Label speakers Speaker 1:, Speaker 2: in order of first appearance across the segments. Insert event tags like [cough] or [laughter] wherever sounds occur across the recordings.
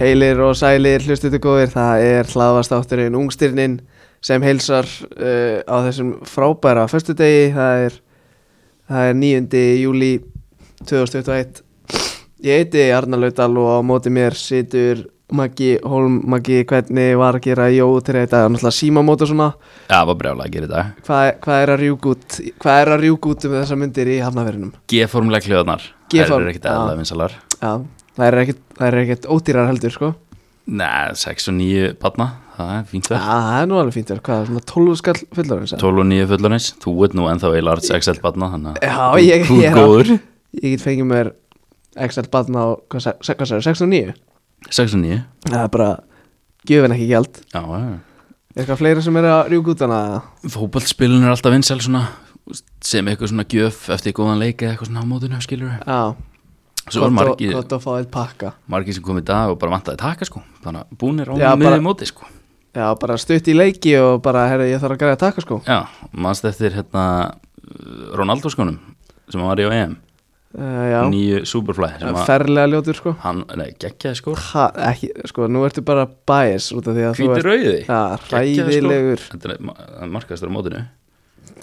Speaker 1: Heilir og sælir hlustuðu góðir, það er hlaðvastátturinn Ungstyrnin sem heilsar uh, á þessum frábæra föstudegi, það er, það er 9. júli 2021. Ég heiti Arnar Laudal og á móti mér situr Maggi Holm, Maggi hvernig var að gera jóð til þetta, náttúrulega símamót og svona,
Speaker 2: Já, það var brjálega að gera í dag
Speaker 1: hvað, hvað er að rjúk út, hvað er að rjúk út um þessar myndir í hafnaverinum?
Speaker 2: G-formulega kljóðnar
Speaker 1: G-form,
Speaker 2: Það er ekkert
Speaker 1: já.
Speaker 2: eðla vinsalar
Speaker 1: Já, það er ekkert, það er ekkert ódýrar heldur, sko.
Speaker 2: Nei, 6 og 9 batna Það er fínt
Speaker 1: Já,
Speaker 2: það
Speaker 1: það er nú alveg fínt verið, hvað er svona 12 skall fullar eins
Speaker 2: 12 og 9 fullanins Þú ert nú ennþá eiginlega arts XL batna Þannig að
Speaker 1: Já,
Speaker 2: þú-
Speaker 1: ég-
Speaker 2: þú
Speaker 1: ég er
Speaker 2: er góður
Speaker 1: Ég get fengið mér XL batna á, hvað sa- se- hvað sagði, 69?
Speaker 2: 6 og 9 Já,
Speaker 1: Það er bara, gjöfin ekki gjald
Speaker 2: já
Speaker 1: Er eitthvað fleira sem er að rjúk út hana?
Speaker 2: Fótballspilun er alltaf vinsal svona sem eitthvað svona gjöf eftir góðan leik eða eitthvað svona á mótinu skilur
Speaker 1: Já,
Speaker 2: Svo var
Speaker 1: gott og-
Speaker 2: margir,
Speaker 1: gott að fá eitt pakka
Speaker 2: margir sem kom í dag og bara vantaði taka sko þannig að búnir á
Speaker 1: Já, bara-
Speaker 2: miðið móti sko
Speaker 1: Já, bara stutt í leiki og bara, herri, ég þarf að græða takka sko
Speaker 2: Já, mannst eftir hérna Ronaldo skonum sem var í á EM
Speaker 1: uh, Já,
Speaker 2: nýju Superfly sem að
Speaker 1: ferlega ljótur sko
Speaker 2: hann, nei, geggjaði skór
Speaker 1: ha, ekki, Sko, nú ertu bara bias út af því að þú
Speaker 2: hvíti
Speaker 1: ert
Speaker 2: rauði
Speaker 1: Já,
Speaker 2: sko.
Speaker 1: hræðilegur
Speaker 2: þetta er ma- það er markastur á mótinu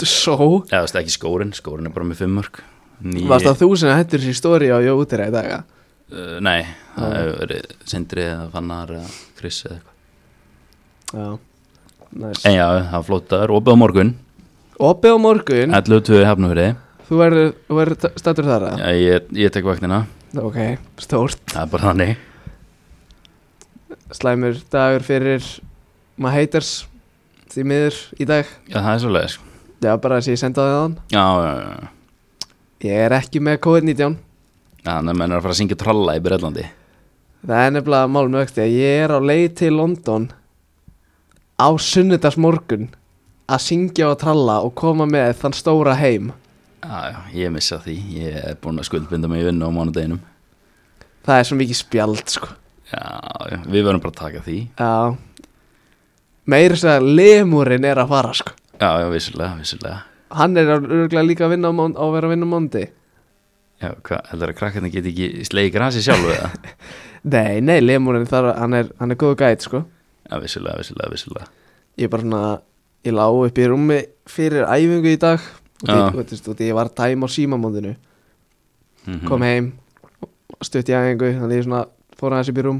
Speaker 1: Svo,
Speaker 2: eða þú veist ekki skórin, skórin er bara með fimm mörg Ný,
Speaker 1: varst það þú sem hættur sér stóri á Jótera í dag eða?
Speaker 2: uh, nei, það hefur verið Sindri eða Fannar eða Chris eða eitthvað
Speaker 1: Já, næs
Speaker 2: en já, það var flott dagur, opið á morgun
Speaker 1: Opið á morgun,
Speaker 2: 11.2 hafnum fyrir
Speaker 1: þú verður, þú verður stattur þar að?
Speaker 2: ég, ég tek vaktina,
Speaker 1: Ok, stórt
Speaker 2: það er bara þannig
Speaker 1: Slæmur dagur fyrir maður heitars því miður í dag
Speaker 2: já, það er svolítið já,
Speaker 1: Já, bara þess að ég senda á það hann
Speaker 2: já, já, já.
Speaker 1: Ég er ekki með COVID-19
Speaker 2: Já, þannig að menn er að fara að syngja tralla í Breitlandi
Speaker 1: Það er nefnilega mál með ökti að ég er á leið til London á sunnudags morgun að syngja og tralla og koma með þann stóra heim
Speaker 2: já, já, ég missa því, ég er búin að skuldbinda mig í vinnu á mánudeginum
Speaker 1: Það er svo mikið spjald sko
Speaker 2: já, já, við verðum bara að taka því
Speaker 1: Já Meir þess að lemurinn er að fara sko
Speaker 2: Já, já, vissulega, vissulega
Speaker 1: Hann er örgulega líka að vinna á, mán- á að vera að vinna á móndi
Speaker 2: Já, hvað, heldur að krakkarnir geti ekki slegið grasi sjálf við það?
Speaker 1: Nei, nei, lemurinn þar, hann er, hann er góðu gæt sko
Speaker 2: Já, vissulega, vissulega, vissulega
Speaker 1: ég bara svona ég lá upp í rúmi fyrir æfingu í dag og því,
Speaker 2: Já.
Speaker 1: þú veist, og því ég var að tæma á símamóndinu
Speaker 2: mm
Speaker 1: kom heim og stutt í æfingu þannig ég svona fór aðeins upp í rúm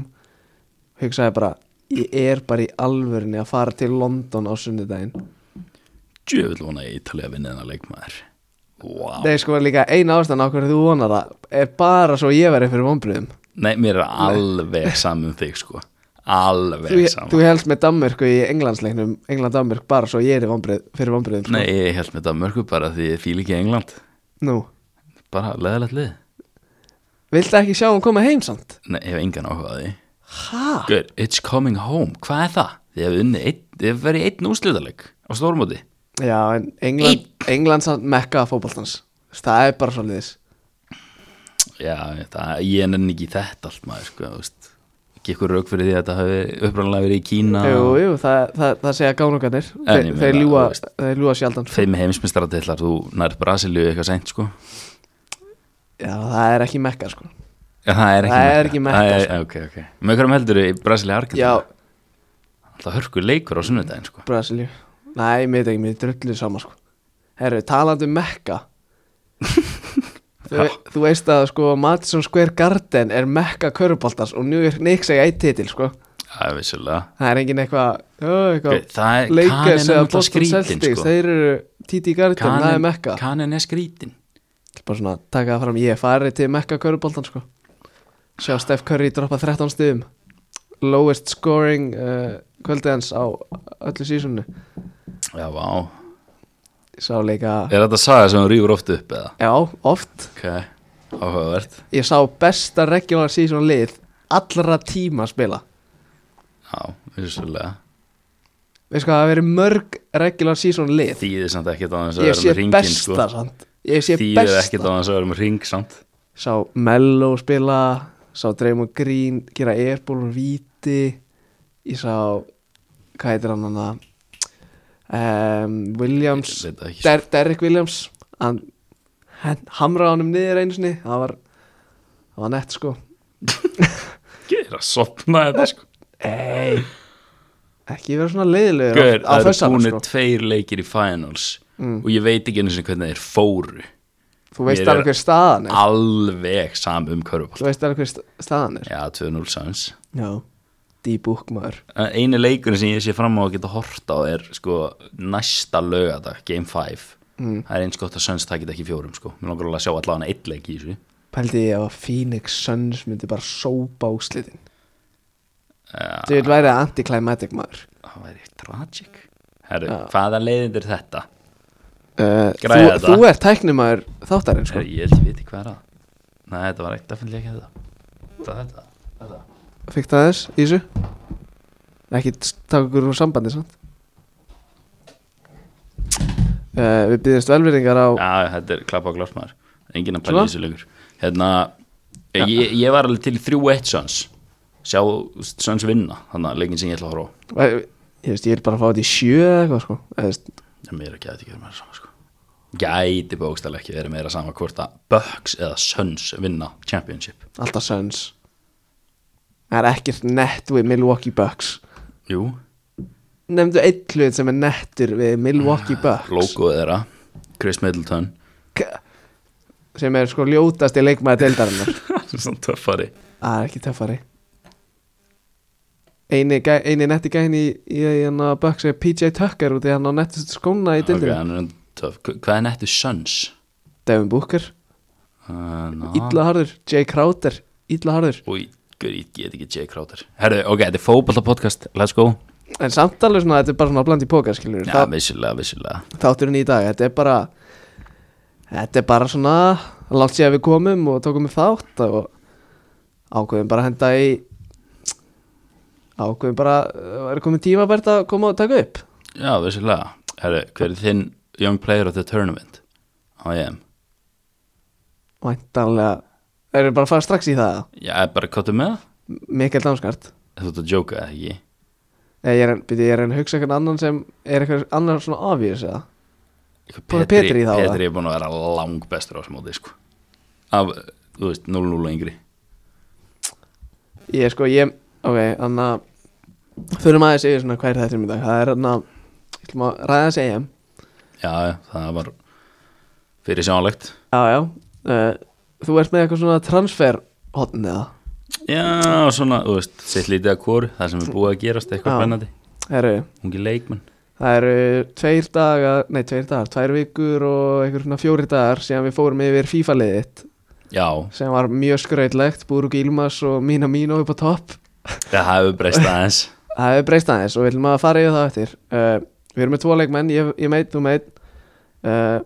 Speaker 1: hugsaði bara ég er bara í alvörinni að fara til London á sunnudaginn
Speaker 2: Djöfull vona ég ítalið að vinna þennan leikmaður Vá
Speaker 1: Nei sko líka eina ástæðan á hverju þú vonar það er bara svo ég verið fyrir vonbröðum
Speaker 2: Nei, mér er alveg saman um þig, sko
Speaker 1: þú,
Speaker 2: Alveg
Speaker 1: þú
Speaker 2: saman
Speaker 1: helst með Danmörku í Englandsleiknum England-Danmörk bara svo ég er vonbrið, fyrir vonbröðum sko.
Speaker 2: Nei, ég held með Danmörku bara því ég fíl ekki England
Speaker 1: Nú,
Speaker 2: Bara leðalegt lið
Speaker 1: viltu ekki sjá hún koma heim samt?
Speaker 2: Nei, ég hef engan áhuga á því
Speaker 1: Hæ?
Speaker 2: Good, it's coming home, hvað er það? Þið hefur unnið einn, þið hefur verið í einn úrslitaleg á stórmóti
Speaker 1: Já, en England, England samt mekka fótboltans Það er bara svolítið
Speaker 2: Já, þetta, ég nenni ekki í þetta allt maður, sko, þú veist ekki ykkur rauk fyrir því að þetta hafi upprannlega verið í Kína
Speaker 1: Jú, jú, það, það, það segja gánungarnir
Speaker 2: En
Speaker 1: Þeir,
Speaker 2: ég meina,
Speaker 1: þeir, ljúga,
Speaker 2: þú veist.
Speaker 1: þeir ljúga sjaldan sko.
Speaker 2: Fimm heimsmyndstaratillar, þú nærð Brasilíu eitthvað seint, sko
Speaker 1: Já, það er ekki mekka sko.
Speaker 2: Já, það er ekki
Speaker 1: Það er ekki Mekka,
Speaker 2: Það er- Ok, ok Með hverjum heldur í Brasilíu Argentina?
Speaker 1: Já,
Speaker 2: Það hörkur leikur á sunnudaginn, sko
Speaker 1: Brasilíu Nei, mér veit ekki, mér drullu sama sko. Herru, talandi um
Speaker 2: [laughs]
Speaker 1: mekka þú, þú veist að sko, Madison Square Garden er mekka köruboltans og nú er neitt segja eitt titil sko.
Speaker 2: Já, vissulega
Speaker 1: Það er engin eitthvað ó,
Speaker 2: Ok,
Speaker 1: eitthvað
Speaker 2: Það er,
Speaker 1: Lakers
Speaker 2: kaninn er
Speaker 1: eða
Speaker 2: náttúrulega
Speaker 1: Boston
Speaker 2: skrítin,
Speaker 1: Celtics
Speaker 2: sko
Speaker 1: Þeir eru títi í Garden, það er mekka
Speaker 2: Kaninn er skrítin
Speaker 1: bara svona taka það fram ég farið til mekka köruboltan sko sjá Steph Curry droppa 13 stuðum lowest scoring uh, kvöldiðans á öllu sísunni
Speaker 2: Já, vá
Speaker 1: sá líka,
Speaker 2: Er þetta saga sem hún rýfur oft upp, eða?
Speaker 1: já, oft
Speaker 2: Ok, áhugavert
Speaker 1: ég sá besta regular season lið allra tíma að spila
Speaker 2: Já, vissulega
Speaker 1: veist hvað, það hafa verið mörg regular season lið
Speaker 2: Þýðir samt ekkert á þess að
Speaker 1: ég
Speaker 2: vera
Speaker 1: sé
Speaker 2: með ringin, sko
Speaker 1: besta samt ég sé
Speaker 2: Þýðir ekkert á
Speaker 1: besta
Speaker 2: þess að vera með ring, samt
Speaker 1: sá Mello spila sá Draymond Green gera airball og víti ég sá hvað heitir hann hann um, Williams
Speaker 2: Ég veit það ekki,
Speaker 1: Der, Derrick Williams hann, hann hamraði honum niður einu sinni það var, það var nett sko
Speaker 2: Ger er að sopna þetta sko
Speaker 1: Ei Ekki vera svona leiðilegur
Speaker 2: Gauður,
Speaker 1: á, á
Speaker 2: það eru
Speaker 1: þessana
Speaker 2: búinir
Speaker 1: sko Mm.
Speaker 2: tveir leikir í finals og ég veit ekki einu sinni hvernig þeir fóru
Speaker 1: Þú veist
Speaker 2: Mér er-
Speaker 1: alveg hver staðan er
Speaker 2: alveg saman um körfuball
Speaker 1: Þú veist alveg hver sta- staðan er
Speaker 2: Já, 2-0 sams
Speaker 1: Já D-book maður
Speaker 2: Einu leikurinn sem ég sé fram á að geta hort á er sko næsta lögadag, Game 5
Speaker 1: Mm.
Speaker 2: Það er eins gott að Suns takit ekki fjórum sko Mér langar alveg að sjá allavega eitt leik í þessu
Speaker 1: Pældi ég að Phoenix Suns myndi bara sópa úslitin Þú veit væri anticlimatic maður
Speaker 2: Það væri tragic Herru, hvaða leiðind er þetta?
Speaker 1: uh, þú,
Speaker 2: Græja þetta.
Speaker 1: þú ert tæknimaður þáttarinn sko
Speaker 2: Herru, ég held ég viti hvað er að Nei, þetta var ekkert definitely ekki þetta Þetta, þetta, þetta
Speaker 1: Fikk það aðeins í þessu Ekki t- taka ykkur úr sambandi samt uh, Við byggjast velverðingar á
Speaker 2: Já, þetta er klappa og glásmaður Engin að
Speaker 1: Svona?
Speaker 2: pæla í þessu lengur Hérna, ég, ég var alveg til í 3-1 Suns Sjá Suns vinna Þannig að leikin sem ég ætla að horfa á
Speaker 1: Ég, veist, ég vil bara fá þetta í sjö eða eitthvað sko Eða, veist,
Speaker 2: En mér er ekki að þetta ekki verið meira sama sko Gæti bókstælega ekki verið meira sama hvort að Bucks eða Suns vinna championship
Speaker 1: Alltaf Suns Það er ekkert nett við Milwaukee Bucks
Speaker 2: Jú,
Speaker 1: Nefndu einn hlut sem er nettur við Milwaukee
Speaker 2: Ah,
Speaker 1: Bucks
Speaker 2: logoð þeirra Chris Middleton
Speaker 1: K- Sem er sko ljótast í leikmaði deildarinnar
Speaker 2: [laughs] Svona töffari
Speaker 1: Það er ekki töffari Eini, gæ- eini netti gæn í, í, í hann að Bucks er PJ Tucker út í hann á nettust skóna í
Speaker 2: okay,
Speaker 1: deildinu
Speaker 2: hann er töff. Hva- Hvað er nettu Suns?
Speaker 1: Devin Booker,
Speaker 2: Uh, ná.
Speaker 1: illa harður Jay Crowder, illa harður
Speaker 2: Új, guð, ég get ekki Jay Crowder Herðu, ok, þetta er fótballta podcast, let's go
Speaker 1: En samt alveg svona, þetta er bara svona bland í póka skilur
Speaker 2: Já, vissulega, vissulega
Speaker 1: þátturinn í dag þetta er bara þetta er bara svona langt sér að við komum og tókum við þátt og ákveðum bara að henda í ákveðum bara uh, er komið tíma bært að koma og taka upp
Speaker 2: Já, vissulega Herðu, hver er þinn young player of the tournament? Á ég
Speaker 1: væntanlega erum við bara að fara strax í það
Speaker 2: Já, bara kottu með það?
Speaker 1: Mikael Damskart
Speaker 2: Þú ert að jóka, eða ekki?
Speaker 1: Nei, ég er enn, byrja, ég er enn að hugsa eitthvað annan sem er eitthvað annar svona obvious eða Búin
Speaker 2: Petri,
Speaker 1: að Petri í þá,
Speaker 2: Petri er búin að vera lang bestur á þessu móti sko. af, þú veist, 0-0 og yngri
Speaker 1: ég sko, ég, ok, þannig að förum aðeins yfir svona hver þetta er í dag það er þannig að, ég ætlum að ræða að segja um
Speaker 2: já, já, það var fyrir sjánlegt
Speaker 1: Já, já uh, Þú ert með eitthvað svona transfer hotn eða
Speaker 2: já, svona, þú veist, sitt lítið að kóru það sem er búið að gerast,
Speaker 1: Já.
Speaker 2: eitthvað spennandi
Speaker 1: Heru,
Speaker 2: ungi leikmenn
Speaker 1: Það eru tveir dagar, nei tveir dagar, tvær vikur og einhver svona fjóri dagar síðan við fórum yfir FIFA-liðið
Speaker 2: já,
Speaker 1: sem var mjög skrautlegt, Búruk Ilmas og Mína Mínu upp á topp
Speaker 2: það hefur breyst aðeins
Speaker 1: [laughs] Það hefur breyst aðeins og við ætlum að fara yfir það eftir uh, Við erum með tvo leikmenn, ég, ég meit, þú meit uh,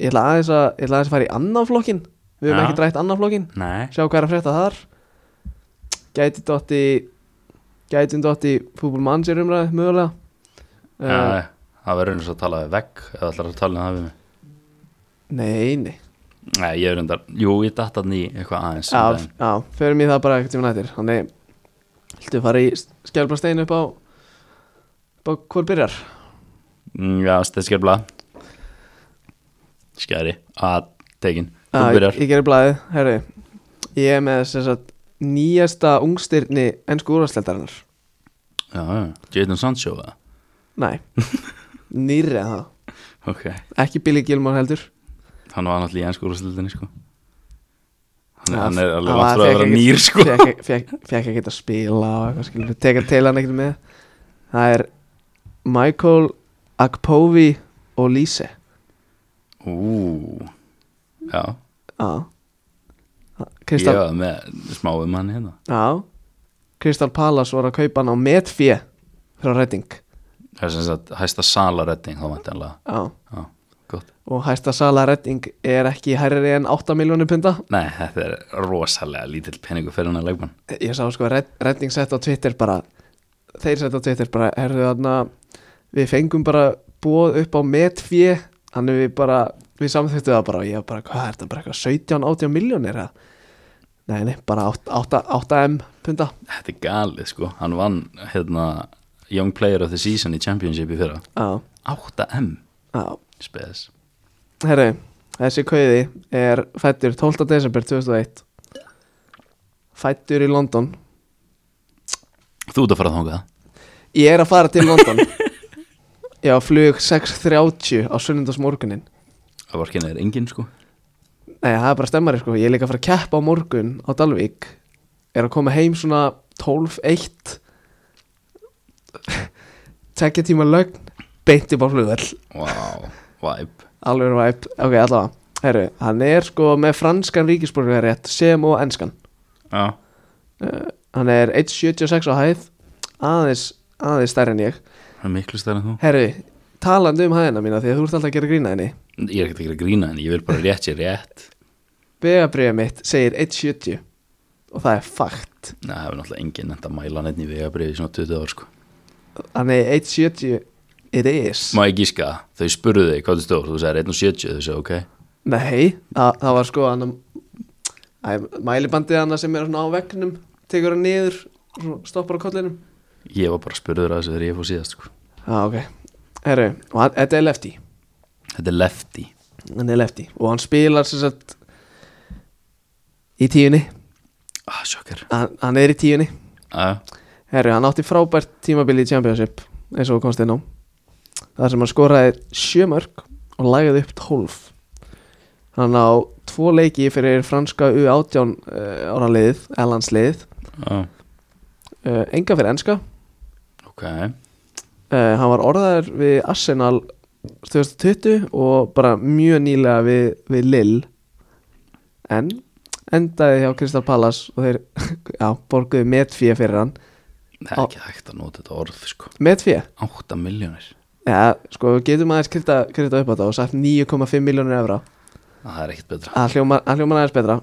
Speaker 1: Ég ætla aðeins að, ég ætla aðeins að fara í annan flokkin Við höfum
Speaker 2: Já.
Speaker 1: ekki drætt annan flokkin
Speaker 2: nei,
Speaker 1: sjá hvað er að frétta þar gæti dotti gætum dotti fútbolmann sér umræði mögulega
Speaker 2: já,
Speaker 1: uh,
Speaker 2: það verður eins og að tala við vegg eða ætlar að tala um það við mig
Speaker 1: nei, nei
Speaker 2: nei, ég er undar, jú, ég datt hann í eitthvað aðeins um
Speaker 1: já,
Speaker 2: daginn.
Speaker 1: já, förum í það bara ekkert tíma nættir þannig, viltu fara í skjálpa stein upp á upp á hvort byrjar
Speaker 2: Mm, já, stedskjörfla skæri, að tekin, þú
Speaker 1: Já,
Speaker 2: byrjar
Speaker 1: ég, ég gerir blæði, herri ég er með þess að nýjasta ungstyrni ennsku úrvarsleitarinnar
Speaker 2: Já, já, Jadon Sancho eða?
Speaker 1: nei,
Speaker 2: [laughs]
Speaker 1: nýrri en það
Speaker 2: Ok,
Speaker 1: ekki Billy Gilmore heldur
Speaker 2: hann var náttúrulega í ennsku úrstildinni sko hann,
Speaker 1: Já,
Speaker 2: hann er alveg
Speaker 1: hann
Speaker 2: langt frá
Speaker 1: var-
Speaker 2: að vera
Speaker 1: fékk ekki-
Speaker 2: nýr [laughs] sko
Speaker 1: Fekk- Fekk fekk ekki að spila og eitthvað skilur Tekar teilan ekkert með Það er Michael Akpovi og Lise
Speaker 2: Ú, já,
Speaker 1: Já
Speaker 2: ég
Speaker 1: Kristal
Speaker 2: var með smá um hann hérna
Speaker 1: Já Kristal Palace var að kaupa hann á Medfje frá Redding
Speaker 2: Það er sem sagt hæsta salaretting þá vantanlega
Speaker 1: Já
Speaker 2: Já, gott
Speaker 1: Og hæsta sala Redding er ekki hærri en 8 miljónir punta
Speaker 2: Nei, þetta er rosalega lítill peningur fyrir hann að leikmann
Speaker 1: Ég sá sko Red- Redding sett á Twitter bara Þeir sett á Twitter bara Herðu þarna Við fengum bara bóð upp á metfjö Þannig við bara Við samþýttu það bara Og ég var bara Hvað er þetta bara eitthvað 17-18 miljónir eða? Nei, nei Bara 8, 8 M punda
Speaker 2: Þetta er galið sko, hann vann hérna Young Player of the Season í Championship í fyrra
Speaker 1: Já
Speaker 2: 8M
Speaker 1: Já
Speaker 2: Spes
Speaker 1: Herru Þessi kauði er fættur 12. desember 2001 fættur í London
Speaker 2: Þú ert að fara þangað
Speaker 1: Ég er að fara til London Ég á flug 6.30 á sunnundagsmorgunin
Speaker 2: Það var kynna þér enginn sko
Speaker 1: Nei, það er bara stemmari sko Ég er líka að fara að keppa á morgun á Dalvík Er að koma heim svona [laughs] 12.1 Tekja tíma lögn Beint upp á flugvöll
Speaker 2: Vá, wow, vibe
Speaker 1: Alveg væp, ok, allavega Herru, hann er sko með franskan ríkisborgarétt sem og enskan
Speaker 2: Já,
Speaker 1: Hann er 1.76 á hæð aðeins, aðeins stærri en ég
Speaker 2: það er miklu stærn en þú
Speaker 1: Herru, talandi um hæðina mína því að þú ert alltaf að gera grína henni
Speaker 2: Ég er ekkert ekki að grína en ég vil bara rétt sér rétt
Speaker 1: Vegabriða mitt segir 1.70 og það er fakt
Speaker 2: Nei, það hefur náttúrulega enginn enda að mæla neitt í vegabriði í svona 20 ár sko
Speaker 1: Hann er 1.70 it is
Speaker 2: Má ég gíska, þau spurðu þig hvað þú stóð Þú sagðir 1.70, þau sagði ok
Speaker 1: Nei, það, það var sko hann Æ, mælibandið hann sem er svona á vegnum tekur hann niður, svona stoppar á kollinum
Speaker 2: Ég var bara spurður að þessu þegar ég fór síðast sko
Speaker 1: Já, ok Herru, og hann, þetta er lefty
Speaker 2: Þetta er lefty
Speaker 1: hann er lefty og hann spilar sem sagt í tíunni
Speaker 2: Ah, sjokkar
Speaker 1: hann, hann er í tíunni
Speaker 2: ah,
Speaker 1: Herru, hann átti frábært tímabili í Championship eins og þú komst inn á þar sem hann skoraði sjö mörg og lagaði upp 12 hann á tvo leiki fyrir franska U18 uh, ára liðið, Ellans liðið
Speaker 2: ah,
Speaker 1: uh, enga fyrir enska
Speaker 2: Ok,
Speaker 1: uh, hann var orðaður við Arsenal 2020 og bara mjög nýlega við, við Lill en endaði hjá Crystal Palace og þeir [laughs] já, borguðu metfíja fyrir hann
Speaker 2: það er ekki hægt að nota þetta orð sko
Speaker 1: metfíja,
Speaker 2: 8 miljónir
Speaker 1: já, sko við getum aðeins krita, krita upp á þetta og sagt 9,5 miljónir evra
Speaker 2: Það er ekkert betra
Speaker 1: að hljóma, að hljóma aðeins betra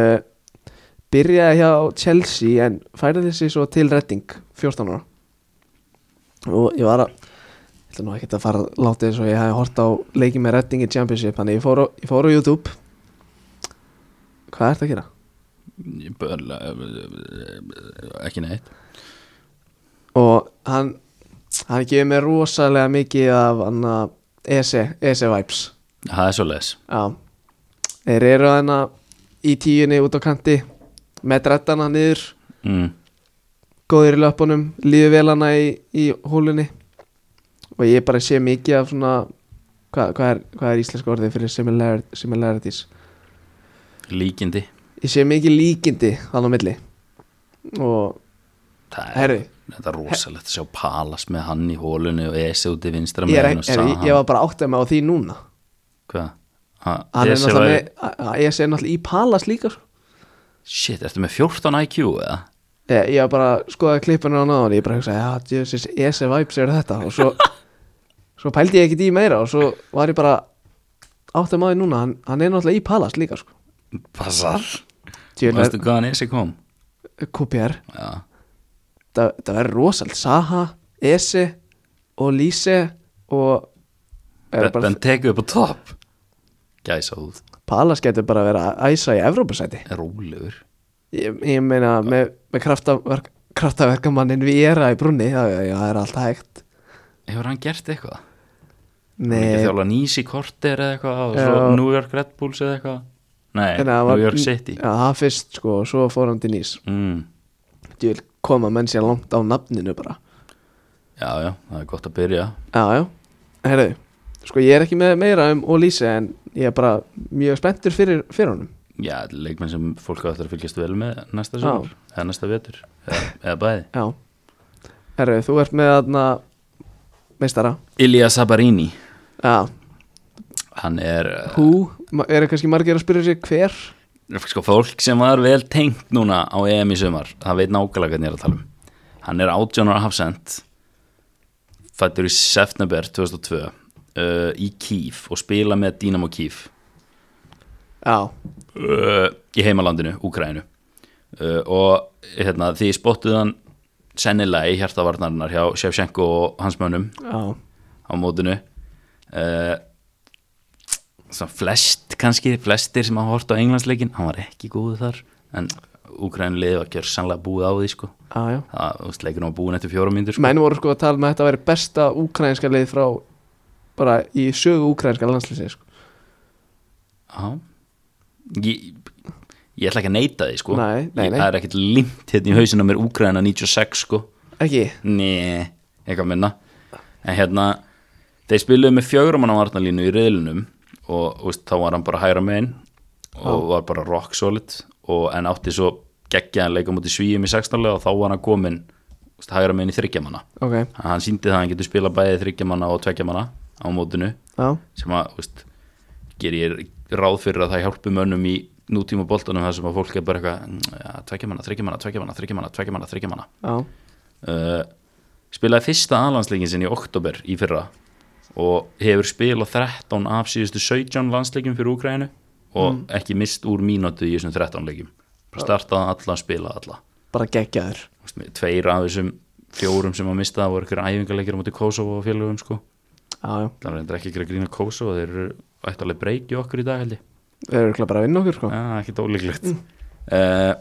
Speaker 1: uh, byrjaði hjá Chelsea en færði sig svo til Redding 14 ára og ég var að ég ætla nú ekkert að fara að láta þess að ég hef hort á leiki með Redding í Championship þannig ég fór á, ég fór á YouTube hvað ertu að gera?
Speaker 2: Ég bara, Ekki neitt
Speaker 1: og hann hann gefið mér rosalega mikið af E anna, ESE, ESE vibes
Speaker 2: Það er svo les
Speaker 1: Já Þeir eru þarna í tíunni út á kanti með drettana niður
Speaker 2: mm.
Speaker 1: góðir í löpunum, lífi vel hana í, í hólunni og ég bara sé mikið af svona hvað, hvað, er, hvað er íslenska orðið fyrir similar, similarities
Speaker 2: Líkindi
Speaker 1: ég sé mikið líkindi þannig á milli og
Speaker 2: Það er,
Speaker 1: herru,
Speaker 2: Þetta er rosalegt að sjá Palas með hann í hólunni og Esi út í vinstra
Speaker 1: ég, er,
Speaker 2: megin og
Speaker 1: er, ég, ég var bara átt að með á því núna
Speaker 2: Hvað?
Speaker 1: hann er
Speaker 2: Esi var
Speaker 1: náttúrulega með, ég sé náttúrulega í Palas líka sko.
Speaker 2: Shit, ertu með 14 IQ eða?
Speaker 1: Eh, ég, ég var bara að skoða klippinu á náðan ég bara hugsaði, já, djöfisins, ese vibes eru þetta og svo, svo pældi ég ekkert í meira og svo var ég bara átt að maður núna, hann, hann er náttúrulega í Palas líka sko.
Speaker 2: Passar
Speaker 1: Djöfull er-
Speaker 2: Veistu hvað hann Esi kom?
Speaker 1: QPR
Speaker 2: Já,
Speaker 1: það, það verður rosalt Saha, Ese og Lise og er bara,
Speaker 2: Ben tekur upp á topp Gæsa út
Speaker 1: Palas getur bara að vera að æsa í Evrópasæti
Speaker 2: Rólegur
Speaker 1: ég, ég meina með, með kraftaverk, kraftaverkamannin við era í brunni það, já, það er allt hægt
Speaker 2: Hefur hann gert eitthvað? Nei Ekki
Speaker 1: Nei,
Speaker 2: þjála Nisi Korter eða eitthvað og
Speaker 1: Eh, Já.
Speaker 2: svo New York Red Bulls eða eitthvað Nei,
Speaker 1: en það var-
Speaker 2: New York City
Speaker 1: Já, það fyrst sko, og svo fór hann til nýs
Speaker 2: mm.
Speaker 1: Ég vil koma menn sér langt á nafninu bara
Speaker 2: Já, já, það er gott að byrja
Speaker 1: Já, já, herðu Sko, ég er ekki með meira um Olise en ég er bara mjög spenntur fyrir, fyrir honum
Speaker 2: Já, leikmenn sem fólk áttur að fylgjast vel með næsta
Speaker 1: Já.
Speaker 2: sumar, eða næsta vetur eða, eða bæði.
Speaker 1: Já Herru, þú ert með þarna meistara
Speaker 2: Ilja Sabarini
Speaker 1: Já,
Speaker 2: hann er, uh,
Speaker 1: hú, ma- eru kannski margir að spyrja sér hver
Speaker 2: sko, fólk sem var vel tengt núna á EM í sumar það veit nákvæmlega hvernig ég er að tala um hann er 18 ára hafsend fættur í september 2002 uh, í Kíf og spila með Dynamo Kíf
Speaker 1: Já,
Speaker 2: uh, í heimalandinu, Úkrænu uh, og hérna, því spottuð hann sennilega í hjartavarnarinnar hjá Shevchenko og hans mönnum
Speaker 1: já,
Speaker 2: á mótinu uh, svona flest kannski, flestir sem hafa hort á Englandsleikin, hann var ekki góðu þar en Úkrænlið var kjör sannlega búið á því sko,
Speaker 1: já, já
Speaker 2: það þú veist, leikurinn var búin eftir fjóra myndir sko,
Speaker 1: Menn voru sko að tala með að þetta væri besta úkrænska lið frá bara í sögu úkrænska landslýsi sko.
Speaker 2: já ég, ég ætla ekki að neita því sko
Speaker 1: Nei, nei,
Speaker 2: Ég-
Speaker 1: nei.
Speaker 2: það er ekkert limt hérna í hausinu mér Úkraina 96 sko
Speaker 1: ekki
Speaker 2: Nei, eitthvað minna En hérna, þeir spiluðu með fjögurum hann á varnalínu í riðlunum og úst, þá var hann bara hæra megin og var bara rock solid og, en átti svo geggjaðan leika múti svíum í 16 lega og þá var hann komin úst, hæra megin í þryggjamanna
Speaker 1: ok,
Speaker 2: hann síndi það að hann getur spila bæði þryggjamanna og tveggjamanna á mótinu
Speaker 1: já,
Speaker 2: sem að úst, gerir ráð fyrir að það hjálpi mönnum í nútíma boltanum þar sem að fólk er bara eitthvað "Mm, ja, tveggjamanna, þryggjamanna, tveggjamanna, þryggjamanna, tveggjamanna, þryggjamanna
Speaker 1: já
Speaker 2: uh, spilaði fyrsta aðlandsleikin sinni í oktober í fyrra og hefur spilað 13 af síðustu 17 landsleikin fyrir Úgrænu og ekki mist úr mínútu í þessum 13 leikim startaði alla, spilaði alla
Speaker 1: bara geggjaður
Speaker 2: Þú veist, tveir af þessum fjórum sem að mista voru ykkur æfingarleikir á móti Kosovo og félögum sko
Speaker 1: já, já,
Speaker 2: það er ekki ykkur að grína Kosovo þeir eru ættalega breyki okkur í dag held ég
Speaker 1: við erum bara að vinna okkur sko
Speaker 2: Já, ekkert ólíklegt mm.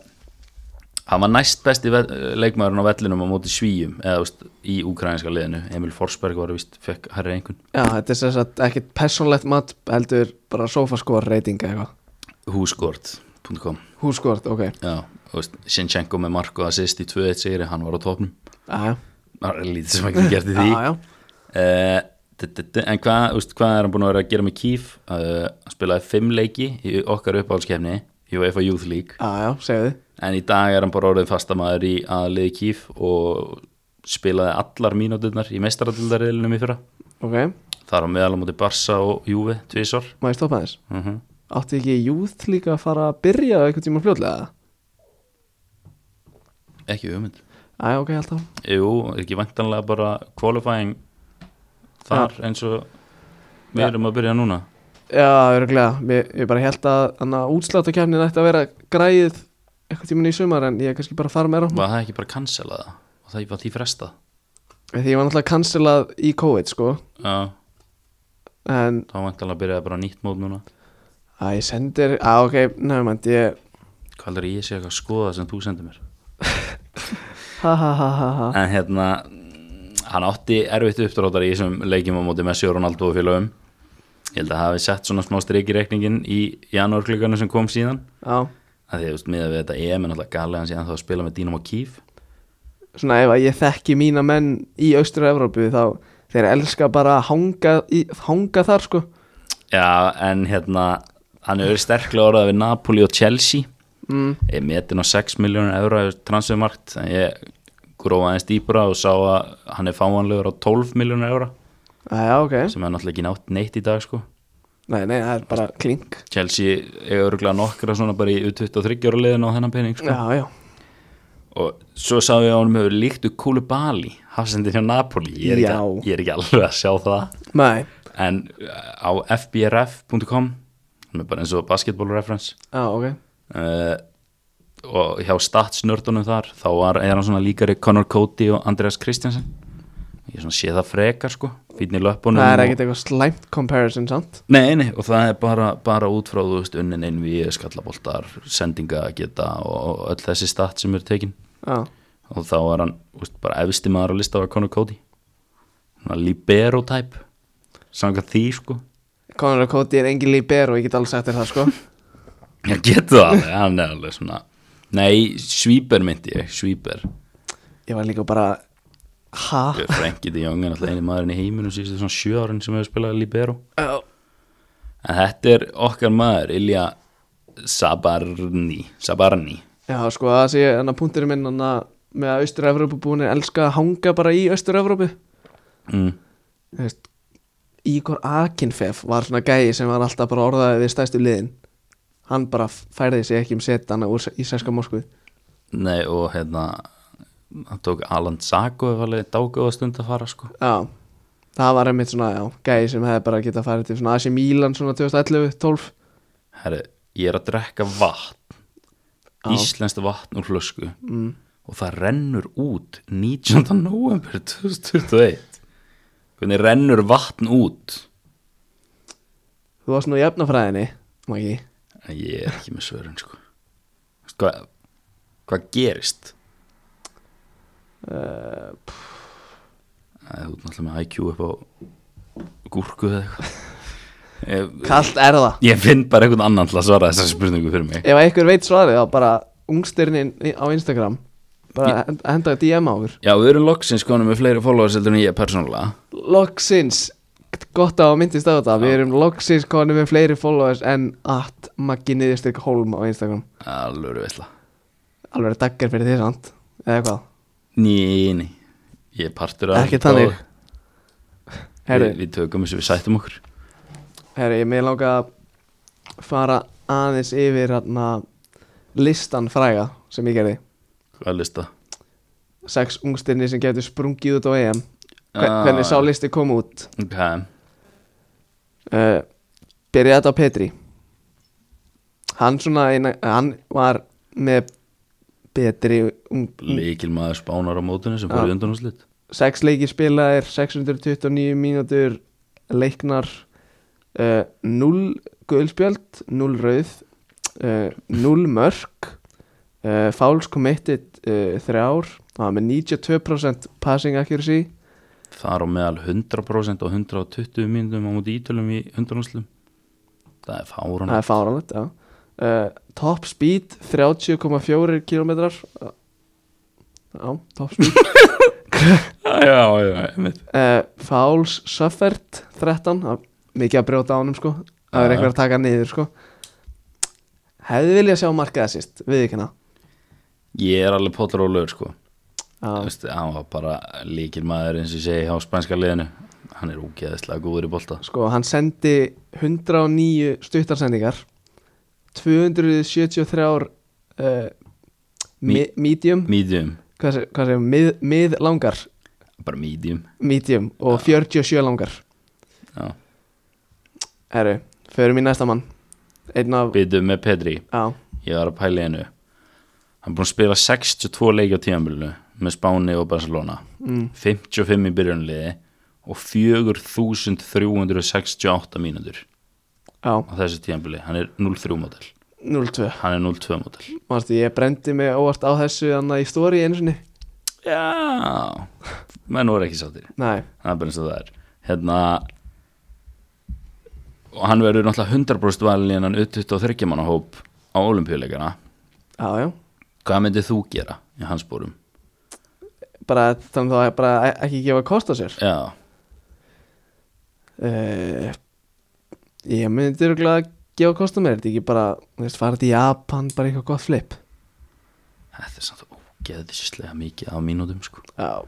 Speaker 2: Hann var næst besti ve- leikmaðurinn á vellinum á móti svíum eða úst, í ukrainska liðinu Emil Forsberg var vist, fekk herri einhvern
Speaker 1: já, þetta er sem sagt ekkit personlegt mat heldur bara sofaskor reytinga eitthvað
Speaker 2: whoScored.com
Speaker 1: húskort, ok,
Speaker 2: Já, þú veist, Sinchenko með Marko assist í 2-1 sigri, hann var á topnum
Speaker 1: já, já
Speaker 2: Það er lítið sem ekki gert [laughs] í því
Speaker 1: já, já,
Speaker 2: Eh, d- d- d- En hvað, úst, hvað er hann búin að vera að gera með Kíf uh, spilaði fimm leiki í okkar uppáhaldskefni í UEFA Youth League
Speaker 1: já, já, segðu þið
Speaker 2: En í dag er hann bara orðið fastamæður í aðliði kýf og spilaði allar mínúturnar í mestaradildarriðlinum í fyrra.
Speaker 1: ok,
Speaker 2: Þar á meðal á móti Barsa og Júve, tvísor.
Speaker 1: má ég stoppa þess
Speaker 2: Uh -huh.
Speaker 1: átti ekki Júð líka að fara að byrja eitthvað tíma fljótlega
Speaker 2: Ekki hugmynd.
Speaker 1: Æ, ok, alltaf
Speaker 2: Jú, er ekki vantanlega bara qualifying þar eins og við
Speaker 1: Ja.
Speaker 2: erum að byrja núna.
Speaker 1: Já, örgulega, ég, ég bara held að þannig að útsláttakefnin ætti að vera græð eitthvað tíman í sumar en ég er kannski bara að fara meira á
Speaker 2: Var það ekki bara cancelaða og það var því frestað?
Speaker 1: því ég var náttúrulega cancelað í COVID sko
Speaker 2: Já,
Speaker 1: en
Speaker 2: þá vantanlega byrjaði bara nýtt mót núna.
Speaker 1: að ég sendir, að ok, nefnvæmt ég
Speaker 2: Hvað heldur ég sé eitthvað að skoða sem þú sendir mér?
Speaker 1: ha ha ha ha ha
Speaker 2: en hérna hann átti erfitt uppdráttar í þessum leikjum á móti Messi og Ronaldo og félagum ég held að hafi sett svona smá strik í reikningin í janúarkluganu sem kom síðan
Speaker 1: Já,
Speaker 2: að því að þú veist miða við þetta EM en alltaf galið hann síðan þá að spila með Dynamo Kiev
Speaker 1: svona ef að ég þekki mína menn í austur Evrópu þá þeir elska bara að hanga, í, hanga þar sko
Speaker 2: já en hérna hann hefur verið sterklega orðað við Napoli og Chelsea
Speaker 1: mm,
Speaker 2: ég metin á 6 miljónur eura transfermarkt en ég grófa aðeins dýpra og sá að hann er fáanlegur á 12 miljónur eura
Speaker 1: að já, ok,
Speaker 2: sem er náttúrulega ekki nátt neitt í dag sko
Speaker 1: nei, nei, það er bara klink
Speaker 2: Chelsea eiga örgulega nokkra svona bara í 23 ára liðin á þennan pening sko.
Speaker 1: Já, já,
Speaker 2: og svo sá ég að honum hefur líktu Kúlu Bali hafsendir hjá Napoli ég er,
Speaker 1: Já.
Speaker 2: ekki, ég er ekki alveg að sjá það
Speaker 1: nei,
Speaker 2: en uh, á fbrf.com hann er bara eins og basketball reference
Speaker 1: já, ok
Speaker 2: uh, og hjá statsnördunum þar þá var, er hann svona líkari Connor Cody og Andreas Christiansen ég svona sé það frekar sko fínni löpunum
Speaker 1: Það er
Speaker 2: og-
Speaker 1: ekkert eitthvað slæmt comparison, sant?
Speaker 2: Nei, nei, og það er bara, bara út frá þú veist, unnin einn við skallaboltar, sendingageta og, og öll þessi stat sem eru tekin
Speaker 1: Já,
Speaker 2: og þá er hann þú veist, bara efsti maður að lista á Conor Cody Svona libero type samkvæmt því sko
Speaker 1: Conor og Cody er engin líber og ég get alls eftir það, sko
Speaker 2: ég getur það alveg, hann er alveg svona Nei, svíper myndi ég, svíper
Speaker 1: [laughs] Ég var líka bara, ha?
Speaker 2: Frenkie de Jong er alltaf eini maðurinn í heiminum síðustu svona sjö árin sem hefur spilað libero
Speaker 1: Já,
Speaker 2: En þetta er okkar maður, Ilja Sabarni Sabarni
Speaker 1: já sko, það sé ég, en að punkturinn minn hann að með að Austur-Evrópu búinir elska að hanga bara í Austur-Evrópu
Speaker 2: mm.
Speaker 1: Þú veist, Ígor Akinfef var svona gæi sem var alltaf bara orðaðið við stæstu liðin Hann bara færði sig ekki um setan úr í sænska morskuð
Speaker 2: Nei og hérna hann tók Alan Sago ef alveg dágóða stund að fara sko
Speaker 1: Já, það var einmitt svona, já, gæi sem hefði bara getað farið til svona Asi Mílan svona 2011-12
Speaker 2: Herri, ég er að drekka vatn
Speaker 1: Já.
Speaker 2: Íslenskt vatn úr flösku mm. og það rennur út 19. november 2021 hvernig rennur vatn út
Speaker 1: Þú varst nú í efnafræðinni, Maggi
Speaker 2: en ég er ekki með svörun sko Veistu hvað hvað gerist
Speaker 1: uh,
Speaker 2: Æ, þú ert náttúrulega með IQ upp á gúrku eða eitthvað Eh, Ég,
Speaker 1: Kallt er það
Speaker 2: ég finn bara einhvern annan til að svara þessar spurningu fyrir mig
Speaker 1: Ef einhver veit svarið þá bara ungstirnin í- á Instagram bara hend- henda DM á okkur
Speaker 2: Já, við erum loksins konum með fleiri followers heldur en ég persónulega
Speaker 1: Loksins gott að hafa myndist á þetta Við erum loksins konum með fleiri followers en at Maggi niðurstyrk Holm á Instagram
Speaker 2: Alvöru veitla
Speaker 1: Alveg daggar fyrir því samt eða hvað
Speaker 2: Ný, ný Ég er partur af
Speaker 1: Ekki þannig
Speaker 2: við,
Speaker 1: Herri,
Speaker 2: við tökum þessu, við sættum okkur
Speaker 1: herri, ég með langa að fara aðeins yfir hana, listan fræga sem ég gerði
Speaker 2: Hvað er lista?
Speaker 1: sex ungstirni sem getur sprungið út á EM Hver,
Speaker 2: Ah.
Speaker 1: hvernig sá listi kom út
Speaker 2: Ok,
Speaker 1: uh, byrjaði þetta á Petri hann svona eina, hann var með betri ung,
Speaker 2: líkil maður spánar á mótinu sem
Speaker 1: Já.
Speaker 2: fór í undanúslit
Speaker 1: sex leikir spilaðir 629 mínútur leiknar uh, 0 guðspjöld 0 rauð uh, 0 mörk uh, fouls committed uh, þrjár það var með 92% passing accuracy
Speaker 2: Þar á meðal 100% og 120 mínútum á móti ítölum í undanúslitum Það er fárun
Speaker 1: það er fáránlegt já. uh, top speed 30,4 km uh, já, top speed
Speaker 2: Já, já, einmitt
Speaker 1: uh, Fouls Suffert 13, það er mikið að brjóta ánum sko það er
Speaker 2: Já.
Speaker 1: einhver að taka hann niður sko hefði viljað sjá markið að sýst við ekki hana
Speaker 2: Ég er alveg potur og lögur sko Þú
Speaker 1: já,
Speaker 2: veist, hann var bara líkil maður eins og ég segi á spænska liðinu hann er ógeðislega góður í bolta
Speaker 1: sko hann sendi 109 stuttarsendingar 273 uh, mi
Speaker 2: Mi-
Speaker 1: medium
Speaker 2: medium,
Speaker 1: hvað segir, hvað segir, mið, mið langar
Speaker 2: bara medium
Speaker 1: medium og 47 langar
Speaker 2: já.
Speaker 1: herru, förum í næsta mann einn af,
Speaker 2: byttu með Petri,
Speaker 1: já,
Speaker 2: ég var að pæla í einu hann er búin að spila 62 leiki á tíðanbílunu með Spáni og Barcelona
Speaker 1: mm,
Speaker 2: 55 í byrjunliði og 4368 mínútur
Speaker 1: já
Speaker 2: á þessu tíðanbíli, hann er 0-3 mótel
Speaker 1: 0-2
Speaker 2: hann er 0-2 mótel
Speaker 1: Mástu, ég brendi mig óvart á þessu þannig í stóri einu sinni
Speaker 2: já, menn voru ekki sáttir
Speaker 1: Nei,
Speaker 2: það er bara eins og það er hérna og hann verður náttúrulega 100% valin í hennan 23 manna hóp á olimpíuleikana
Speaker 1: já, já
Speaker 2: hvað myndir þú gera í hans bórum?
Speaker 1: bara þannig þá að bara e- ekki gefa kost á sér
Speaker 2: já,
Speaker 1: uh, ég myndi örugglega að gefa kost á mér er þetta ekki bara, þú veist, fara til Japan bara eitthvað gott flip
Speaker 2: þetta er samt ógeðislega mikið á mínútum sko
Speaker 1: já,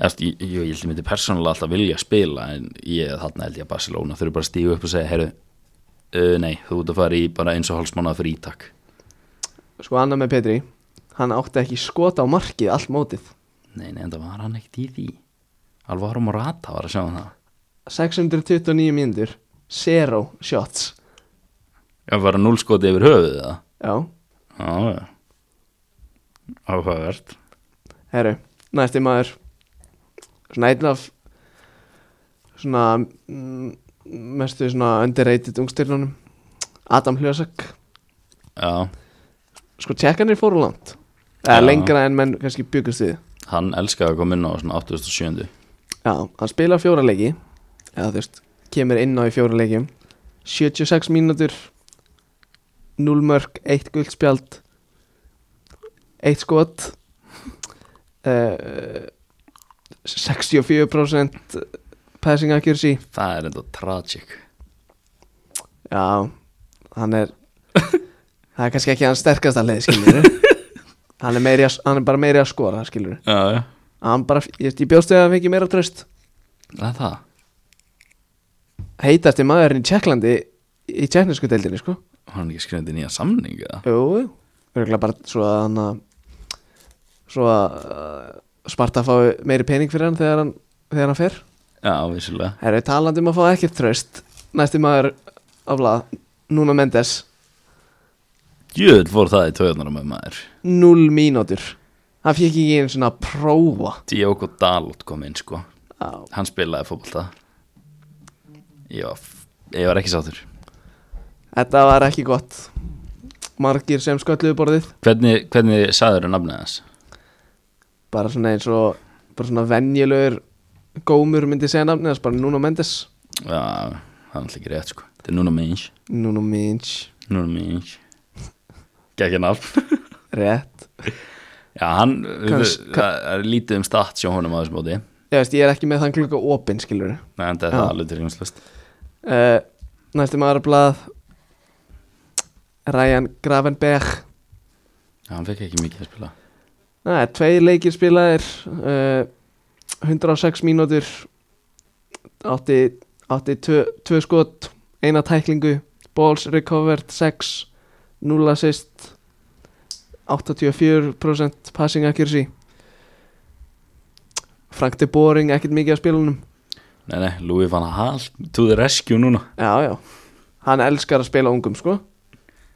Speaker 2: Eftir, ég, ég, ég held ég myndi persónulega alltaf vilja spila en ég þarna held ég að Barcelona þurfi bara að stígu upp og segja heyrðu, uh, nei, þú ert að fara í bara eins og hálfsmána fyrir ítak
Speaker 1: sko annað með Petri hann átti ekki skota á markið allt mótið
Speaker 2: nei, nei, en það var hann ekkert í því Alvaro Morata var að sjá um það
Speaker 1: 629 mínútur zero shots
Speaker 2: ég var að núlskoti yfir höfuðið það
Speaker 1: já,
Speaker 2: Já, já. Áhugavert.
Speaker 1: herru, næsti maður svona einn af svona mm, mestu svona underrated ungstyrnunum Adam Hljósak
Speaker 2: Já,
Speaker 1: sko tjekkanir fóru langt eða
Speaker 2: Já.
Speaker 1: lengra en menn kannski byggust við
Speaker 2: hann elskaði að koma inn á svona 87.
Speaker 1: já, hann spilar fjóra leiki eða þú veist, kemur inn á í fjóra leikjum 76 mínútur 0 mörg, 1 guldspjald 1 skot uh, 64% passing accuracy
Speaker 2: Það er enda tragic.
Speaker 1: já, hann er það er kannski ekki hans sterkasta leið skilur hann er, meiri, að- hann er bara meiri að skora skilur
Speaker 2: Já, já.
Speaker 1: hann bara, ég, veist, ég bjóst við að hann fengi meira tröst
Speaker 2: Það er það.
Speaker 1: heitasti maðurinn í Tjekklandi í tjekknesku deildinni sko
Speaker 2: Var hann ekki skrifandi nýja samning eða?
Speaker 1: jú, jú, örgulega bara svo að hann að svo að uh, Sparta fái meiri pening fyrir hann þegar hann, þegar hann fer
Speaker 2: Já, vissulega.
Speaker 1: það eru talandi um að fá ekkert tröst næsti maður á blað Núna Mendes,
Speaker 2: Jöðl fór það í töðunar með maður.
Speaker 1: 0 mínútur hann fekk ekki einu svona að prófa
Speaker 2: Diogo Dalot kom inn, sko.
Speaker 1: á,
Speaker 2: Hann spilaði fótbolta. Ég var, f- ég var ekki sáttur.
Speaker 1: þetta var ekki gott margir sem skölluðu borðið
Speaker 2: Hvernig, hvernig sagður er nafnið hans?
Speaker 1: bara svona eins og bara svona venjulegur gómur myndi segja nafni þess bara Nuno Mendes
Speaker 2: Já, það er alltaf ekki rétt sko Þetta er Nuno Minch
Speaker 1: Nuno Minch
Speaker 2: Nuno Minch Gekki nafn
Speaker 1: Rétt
Speaker 2: Já, hann,
Speaker 1: Kans-
Speaker 2: Kans, það er lítið um stats hjá honum á þessum bóti
Speaker 1: Já, veist, ég er ekki með þann glugga opinn, skilur
Speaker 2: Nei, en það er
Speaker 1: Já.
Speaker 2: alveg tilgangslust
Speaker 1: uh, Næstu maður að blað Ryan Gravenberg
Speaker 2: Já, hann fekk ekki mikið að spila
Speaker 1: Nei, tveir leikir spilaðir uh, 106 mínútur átti, átti tvö, tvö skot eina tæklingu, balls recovered 6, 0 assist 84% passing accuracy Frank de Boring ekkert mikið að spilunum
Speaker 2: Nei, nei, Louis van Hall to the rescue núna
Speaker 1: Já, já, hann elskar að spila ungum sko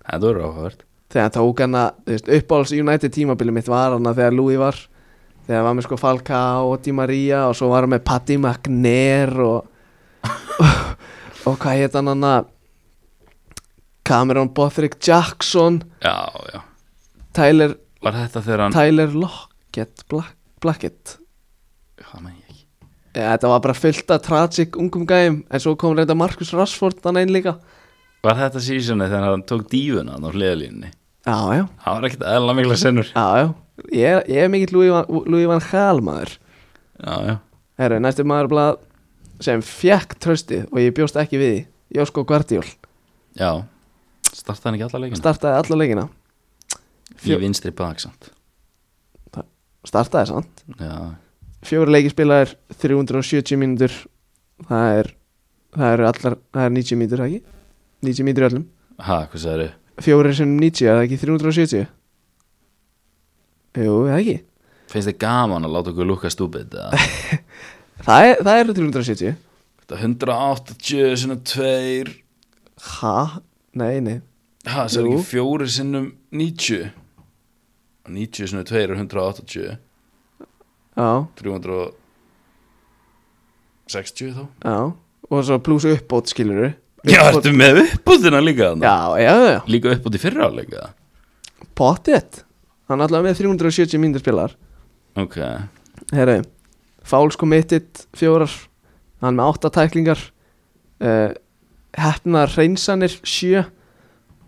Speaker 2: Þetta voru áhugavert
Speaker 1: þegar hann tók hann að, þú veist, uppáhalds United tímabili mitt var hann að þegar Louis var þegar hann var með sko Falcao og Di Maria og svo var hann með Paddy McNair og [laughs] og, og hvað hétt hann hann að Cameron Bothrick Jackson
Speaker 2: Já, já
Speaker 1: Tyler,
Speaker 2: Var þetta þegar hann
Speaker 1: Tyler Lockett Black, Blackett
Speaker 2: Hvað með ég ekki
Speaker 1: ja, þetta var bara fyllt af tragic ungum gæjum en svo kom reynda Marcus Rashford hann einn líka
Speaker 2: Var þetta seasoni þegar hann tók dífuna á hliðalínni?
Speaker 1: já, já,
Speaker 2: Það var ekkert eðla mikla sennur
Speaker 1: já, já ég, er- ég er mikill Louis van, Louis van Gaal maður
Speaker 2: Já, já
Speaker 1: Herru, næstu maður blað sem fjekk tröstið og ég bjóst ekki við því Jósko Guardjól
Speaker 2: Já Startaði hann ekki alla leikina?
Speaker 1: startaði alla leikina
Speaker 2: Í vinstri baksamt
Speaker 1: startaði samt
Speaker 2: Já,
Speaker 1: fjóri leikispilaðir 370 mínútur það er það eru allar það er 90 mínútur það ekki 90 mínútur í öllum
Speaker 2: ha, hvað sagði þau?
Speaker 1: fjóri sem 90 er það ekki 370 jú það ekki
Speaker 2: Finnst þið gaman að láta okkur lúka stúbid? Þetta
Speaker 1: það, er, það eru 370
Speaker 2: 180 sinnum 2
Speaker 1: ha nei nei
Speaker 2: Ha, það er
Speaker 1: Jú.
Speaker 2: ekki 4 sinnum 90 90 sinnum 2 er 180
Speaker 1: já
Speaker 2: 360 þá
Speaker 1: já og svo pluss uppbót skilur
Speaker 2: Já, ertu með uppbúðina líka þannig?
Speaker 1: já já já
Speaker 2: Líka uppbúð í fyrra líka
Speaker 1: Pottet Hann er allavega með 370 mínútur spilar
Speaker 2: Ok,
Speaker 1: Herru, fouls committed sko fjórar Hann með 8 tæklingar uh, Hefnar reynsanir 7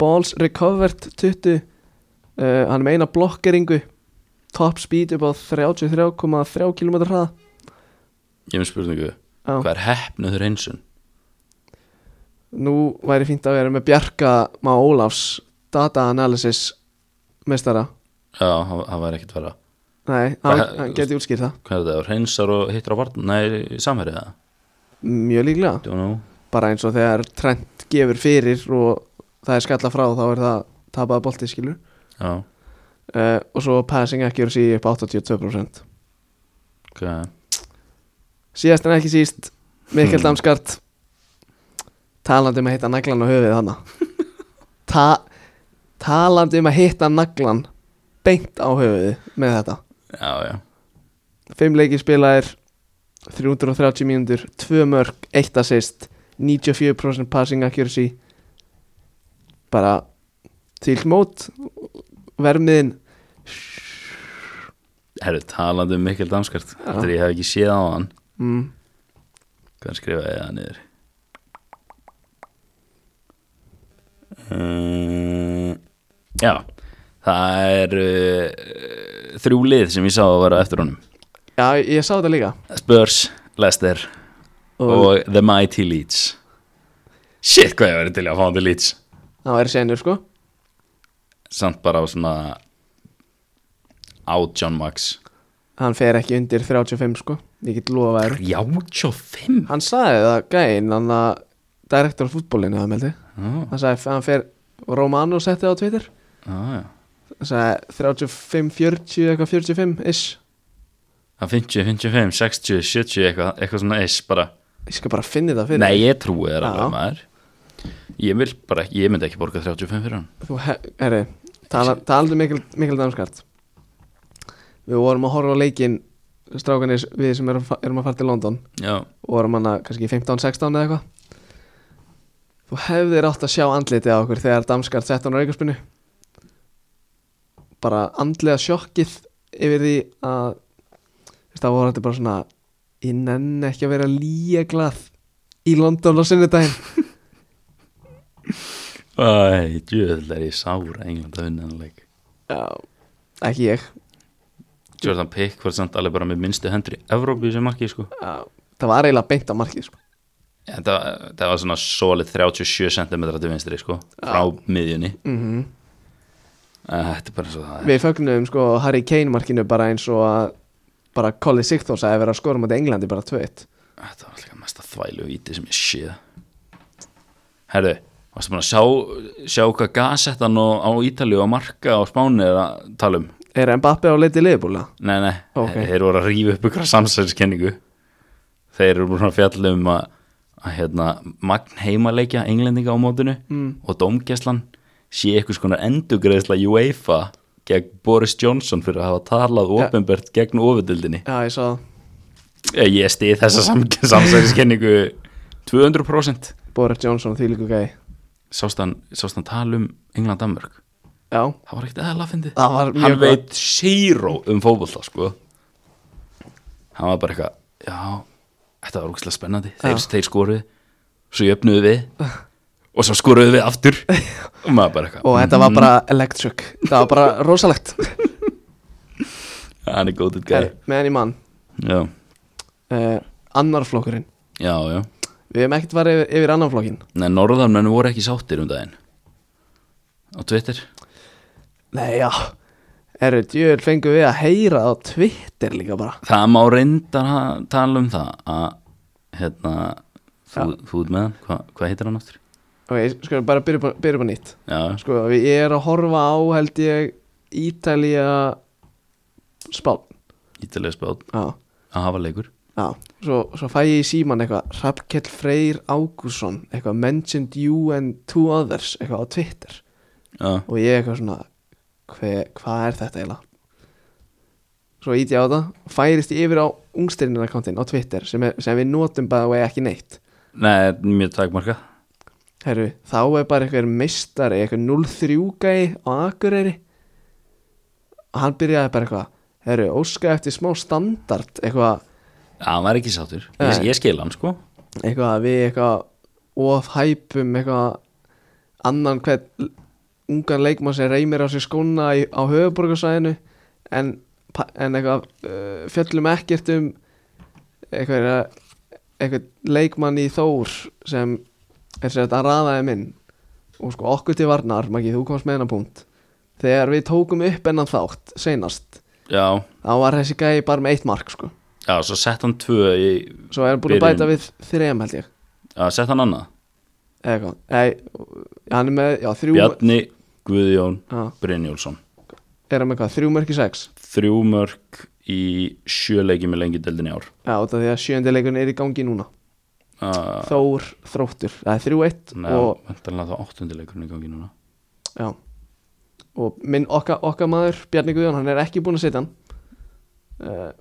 Speaker 1: Balls recovered 20 uh, Hann er með eina blokkeringu Top speed upp á 33,3 km hrað
Speaker 2: ég hef með spurningu
Speaker 1: Já.
Speaker 2: Hvað er hefnuð reynsun?
Speaker 1: Nú væri fínt að vera með Bjarka Má Ólafs data analysis Mestara
Speaker 2: Já, það það væri ekkert vera
Speaker 1: Nei, hann,
Speaker 2: Hvað-
Speaker 1: hann geti útskýrt það
Speaker 2: Hvað er þetta? Reynsar og hittar á vartin? Nei, samherið það?
Speaker 1: Mjög líklega
Speaker 2: Don't know
Speaker 1: bara eins og þegar Trent gefur fyrir og það er skalla frá þá er það tapaða bolti skilur
Speaker 2: Já,
Speaker 1: uh, og svo passing accuracy upp á 82%
Speaker 2: ok Já,
Speaker 1: síðast en ekki síst Mikkel
Speaker 2: Hmm.
Speaker 1: Damskart talandi um að hitta naglan á höfuðið hana Ta talandi um að hitta naglan beint á höfuðið með þetta
Speaker 2: já
Speaker 1: Fimm leikir spilaðir 330 mínútur, 2 mörg, 1 assist 94% passing accuracy bara til mót vermiðin
Speaker 2: Herru, talandi um Mikkel Damskart
Speaker 1: Já.
Speaker 2: Þetta er ég hef ekki séð á hann
Speaker 1: mm,
Speaker 2: Hvað skrifaði ég það niður? Uh, já, það er uh, þrjú lið sem ég sá að vera á eftir honum
Speaker 1: Já, ég sá þetta líka
Speaker 2: Spurs, Leicester og, The Mighty Leeds Shit, hvað ég verið til í að fá hann til Leeds
Speaker 1: það væri senur sko
Speaker 2: Samt bara á svona átján max
Speaker 1: Hann fer ekki undir 35 sko Ég get lofa þér
Speaker 2: 35
Speaker 1: Hann sagði það gæinn, hann að Direktor á fútbólinu, það meldi
Speaker 2: Já,
Speaker 1: Hann sagði, hann fer, Romano setti það á Twitter
Speaker 2: já, já
Speaker 1: Hann sagði 35, 40, eitthvað 45 ish
Speaker 2: Það 50, 55, 60, 70 eitthvað, eitthvað svona eis bara
Speaker 1: Ég skal bara finna þetta fyrir
Speaker 2: Nei, ég trúi þér alveg
Speaker 1: Já.
Speaker 2: maður Ég vil bara ekki, ég myndi ekki borga 35 fyrir hann
Speaker 1: Þú, he- herri, tala- um talaðu mikil, mikil danskart Við vorum að horfa á leikin strákanir við sem erum, fa- erum að fara til London
Speaker 2: Já,
Speaker 1: og vorum hana kannski 15-16 eða eitthvað Þú hefðir átt að sjá andlitið á okkur þegar Damskart sett hann á aukarspinu bara andlega sjokkið yfir því að þú veist, það voru þetta bara svona ég nenn ekki að vera líeglað í London á sunnudaginn
Speaker 2: Æ, djöðl er ég sára England að vinna hann leik
Speaker 1: Já, ekki ég
Speaker 2: Jordan Pickford samt alveg bara með minnstu hendur í Evrópu sem markið sko
Speaker 1: Já, það var eiginlega beint á markið sko.
Speaker 2: En það, það var svona solid 37 cm til vinstri sko frá miðjunni
Speaker 1: mm
Speaker 2: Æ, Þetta er bara svo það er
Speaker 1: Við fögnum sko Harry Kane markinu bara eins og að bara Colli Sigþórs að vera að skora mot Englandi bara 2-1
Speaker 2: Þetta var alltaf mesta þvælu víti sem ég séð Herðu, varstu búin að sjá, sjá hvað gasettan og, á Ítalíu og marka á Spáni er að tala um
Speaker 1: Er Mbappe á leiti liðbúla?
Speaker 2: Nei, nei,
Speaker 1: Ok.
Speaker 2: þeir voru að rífa upp ykkur samsæðiskenningu Þeir eru búin að fjalla um að, að hérna, magn heimaleikja englendinga á mótinu mm. og domgæslan sé einhvers konar endugreðsla UEFA gegn Boris Johnson fyrir að hafa talað
Speaker 1: Ja.
Speaker 2: ofinbært gegn ofudildinni
Speaker 1: Já, ég sá það.
Speaker 2: Ég stið þessa sam [laughs] samsæðiskenningu 200%
Speaker 1: Boris Johnson því líku gæði
Speaker 2: Sást hann, sást hann tala um England-Danmörk
Speaker 1: Já,
Speaker 2: Það var ekkert eðalega að fyndi
Speaker 1: það var mjög
Speaker 2: hann
Speaker 1: gott.
Speaker 2: veit zero um fótbolta sko hann var bara eitthvað já, þetta var ógæslega spennandi þeir, þeir skoruðu, svo jöfnuðu við og svo skoruðu við aftur og maður bara eitthvað
Speaker 1: Og þetta var bara electric Það var bara rosalegt [laughs]
Speaker 2: "Mm, hann er góðið gæði
Speaker 1: Her, Meðan í mann
Speaker 2: já,
Speaker 1: uh, Annar flokkurinn
Speaker 2: já, já
Speaker 1: Við hefum ekkert farið yfir, yfir annan flokkinn
Speaker 2: Nei, norðarmenn voru ekki sáttir um daginn á Twitter
Speaker 1: Nei, já Erru, djöður fengum við að heyra á Twitter líka bara
Speaker 2: það má reyndar að tala um það að hérna þú, þú ert með hann, Hva, hvað heitir hann aftur?
Speaker 1: Ok, sko, bara byrja upp á- byrja upp á nýtt
Speaker 2: já,
Speaker 1: Sko, við- ég er að horfa á, held ég, Ítalía Spán
Speaker 2: ítalega spjátt
Speaker 1: Já,
Speaker 2: að hafa leikur
Speaker 1: já Svo, svo fæ ég í síman eitthvað Hrafkell Freyr Ágússon Eitthvað mentioned you and two others Eitthvað á Twitter
Speaker 2: já,
Speaker 1: Og ég eitthvað svona hve- Hvað er þetta eiginlega? Svo ít ég á það og Færist ég yfir á ungstyrninakantinn á Twitter sem, er, sem við notum bara og ekki neitt
Speaker 2: Nei, mjög takmarkað
Speaker 1: Herru, þá er bara eitthvað meistari, eitthvað 0-3 gæi á Akureyri og hann byrjaði bara eitthvað herru, óska eftir smá standard eitthvað,
Speaker 2: Já, hann var ekki sáttur Ég,
Speaker 1: Nei.
Speaker 2: ég skil hann sko
Speaker 1: eitthvað að við eitthvað ofhæpum eitthvað annan hvern ungan leikmann sem reymir á sér skóna í, á höfuborgarsæðinu en, pa- en eitthvað uh, fjöllum ekkert um eitthvað, eitthvað leikmann í Þór sem er sér að raðaði minn og sko okkur til varnar, Maggi, þú komst með hennar punkt þegar við tókum upp ennan þátt seinast,
Speaker 2: Já,
Speaker 1: þá var þessi gæi bara með eitt mark sko,
Speaker 2: já svo sett hann tvö í,
Speaker 1: svo er hann búin að
Speaker 2: Byrjun.
Speaker 1: bæta við þrem held ég
Speaker 2: Já, sett hann annað
Speaker 1: eða eitthvað Nei, hann er með, já, þrjú
Speaker 2: Bjarni, Guðjón,
Speaker 1: já,
Speaker 2: Brynjólfsson
Speaker 1: er hann með hvað, þrjú mörki sex
Speaker 2: Þrjú mörg í sjöleiki með lengi deildin í ár
Speaker 1: já, út af því að sjöndileikun er í gangi núna
Speaker 2: uh,
Speaker 1: Þór, Þróttur, það er þrjú eitt
Speaker 2: Nei,
Speaker 1: og,
Speaker 2: vantarlega þá áttundileikurinn í gangi núna
Speaker 1: já og minn okka, okka maður, Bjarni Guðjón hann er ekki búin að setja hann uh,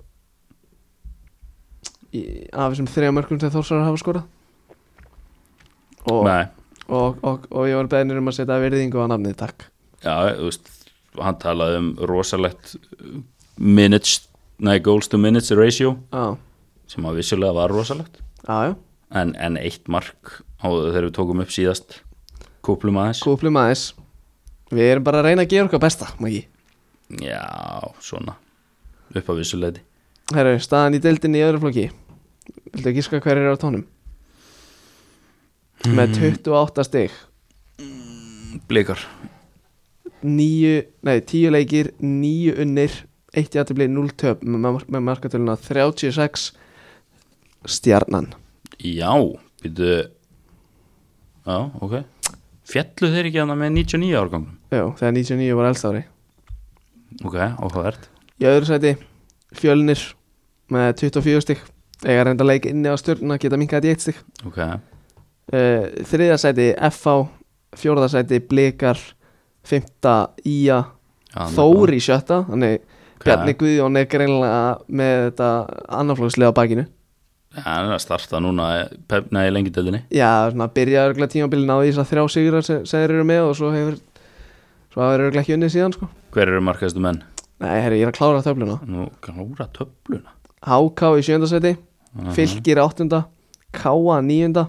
Speaker 1: í, af þessum þrjá mörkum sem Þórsar hafa skorað og,
Speaker 2: Nei,
Speaker 1: og, og, og ég var beðnir um að setja virðingu á nafnið, takk
Speaker 2: já, þú veist Hann talaði um rosalegt uh, minutes, nei, goals to minutes ratio
Speaker 1: já,
Speaker 2: sem að vissulega var rosalegt
Speaker 1: já, já,
Speaker 2: en, en eitt mark á, þegar við tókum upp síðast kúplum aðeins
Speaker 1: kúplum aðeins við erum bara að reyna að gera okkar besta, Maggi
Speaker 2: Já, svona upp á vissuleiti
Speaker 1: Herru, staðan í deildinni í öðru flokki Viltu að gíska hver er á tónum? Með 28 stig
Speaker 2: Blikar
Speaker 1: 9, nei 10 leikir 9 unnir, 1 jættibli 0 töp með, með markatöluna 36 stjarnan
Speaker 2: Já, býtu Já, ok Fjallu þeir ekki hana með 99 árgangum
Speaker 1: Jó, þegar 99 var elst ári
Speaker 2: Ok, áhugavert
Speaker 1: Í öðru sæti, fjölnir með 24 stig Eiga reynda leik inni á stjörnuna, geta minkað í 1 stig
Speaker 2: Ok,
Speaker 1: uh, Þriða sæti, FH Fjórða sæti, Blikar Fymta, IA
Speaker 2: Já, hann er
Speaker 1: Þór í sjötta Þannig
Speaker 2: Ok.
Speaker 1: Bjarni Guðjón er greinlega með þetta annarflókslega á bakinu
Speaker 2: Já, hann er að starta núna pefna í lengjadeldinni
Speaker 1: Já, svona byrjaði örgulega tímabilin á því þess að þrjá sigrar sem, sem þeir eru með og svo hefur svo hafa þeir örgulega ekki unnið síðan sko
Speaker 2: Hver eru markaðistu menn?
Speaker 1: Nei, herri, ég er að klára töfluna
Speaker 2: Nú, glára töfluna Mhm.
Speaker 1: HK í sjöndasæti, Fylgir áttunda Káa 9.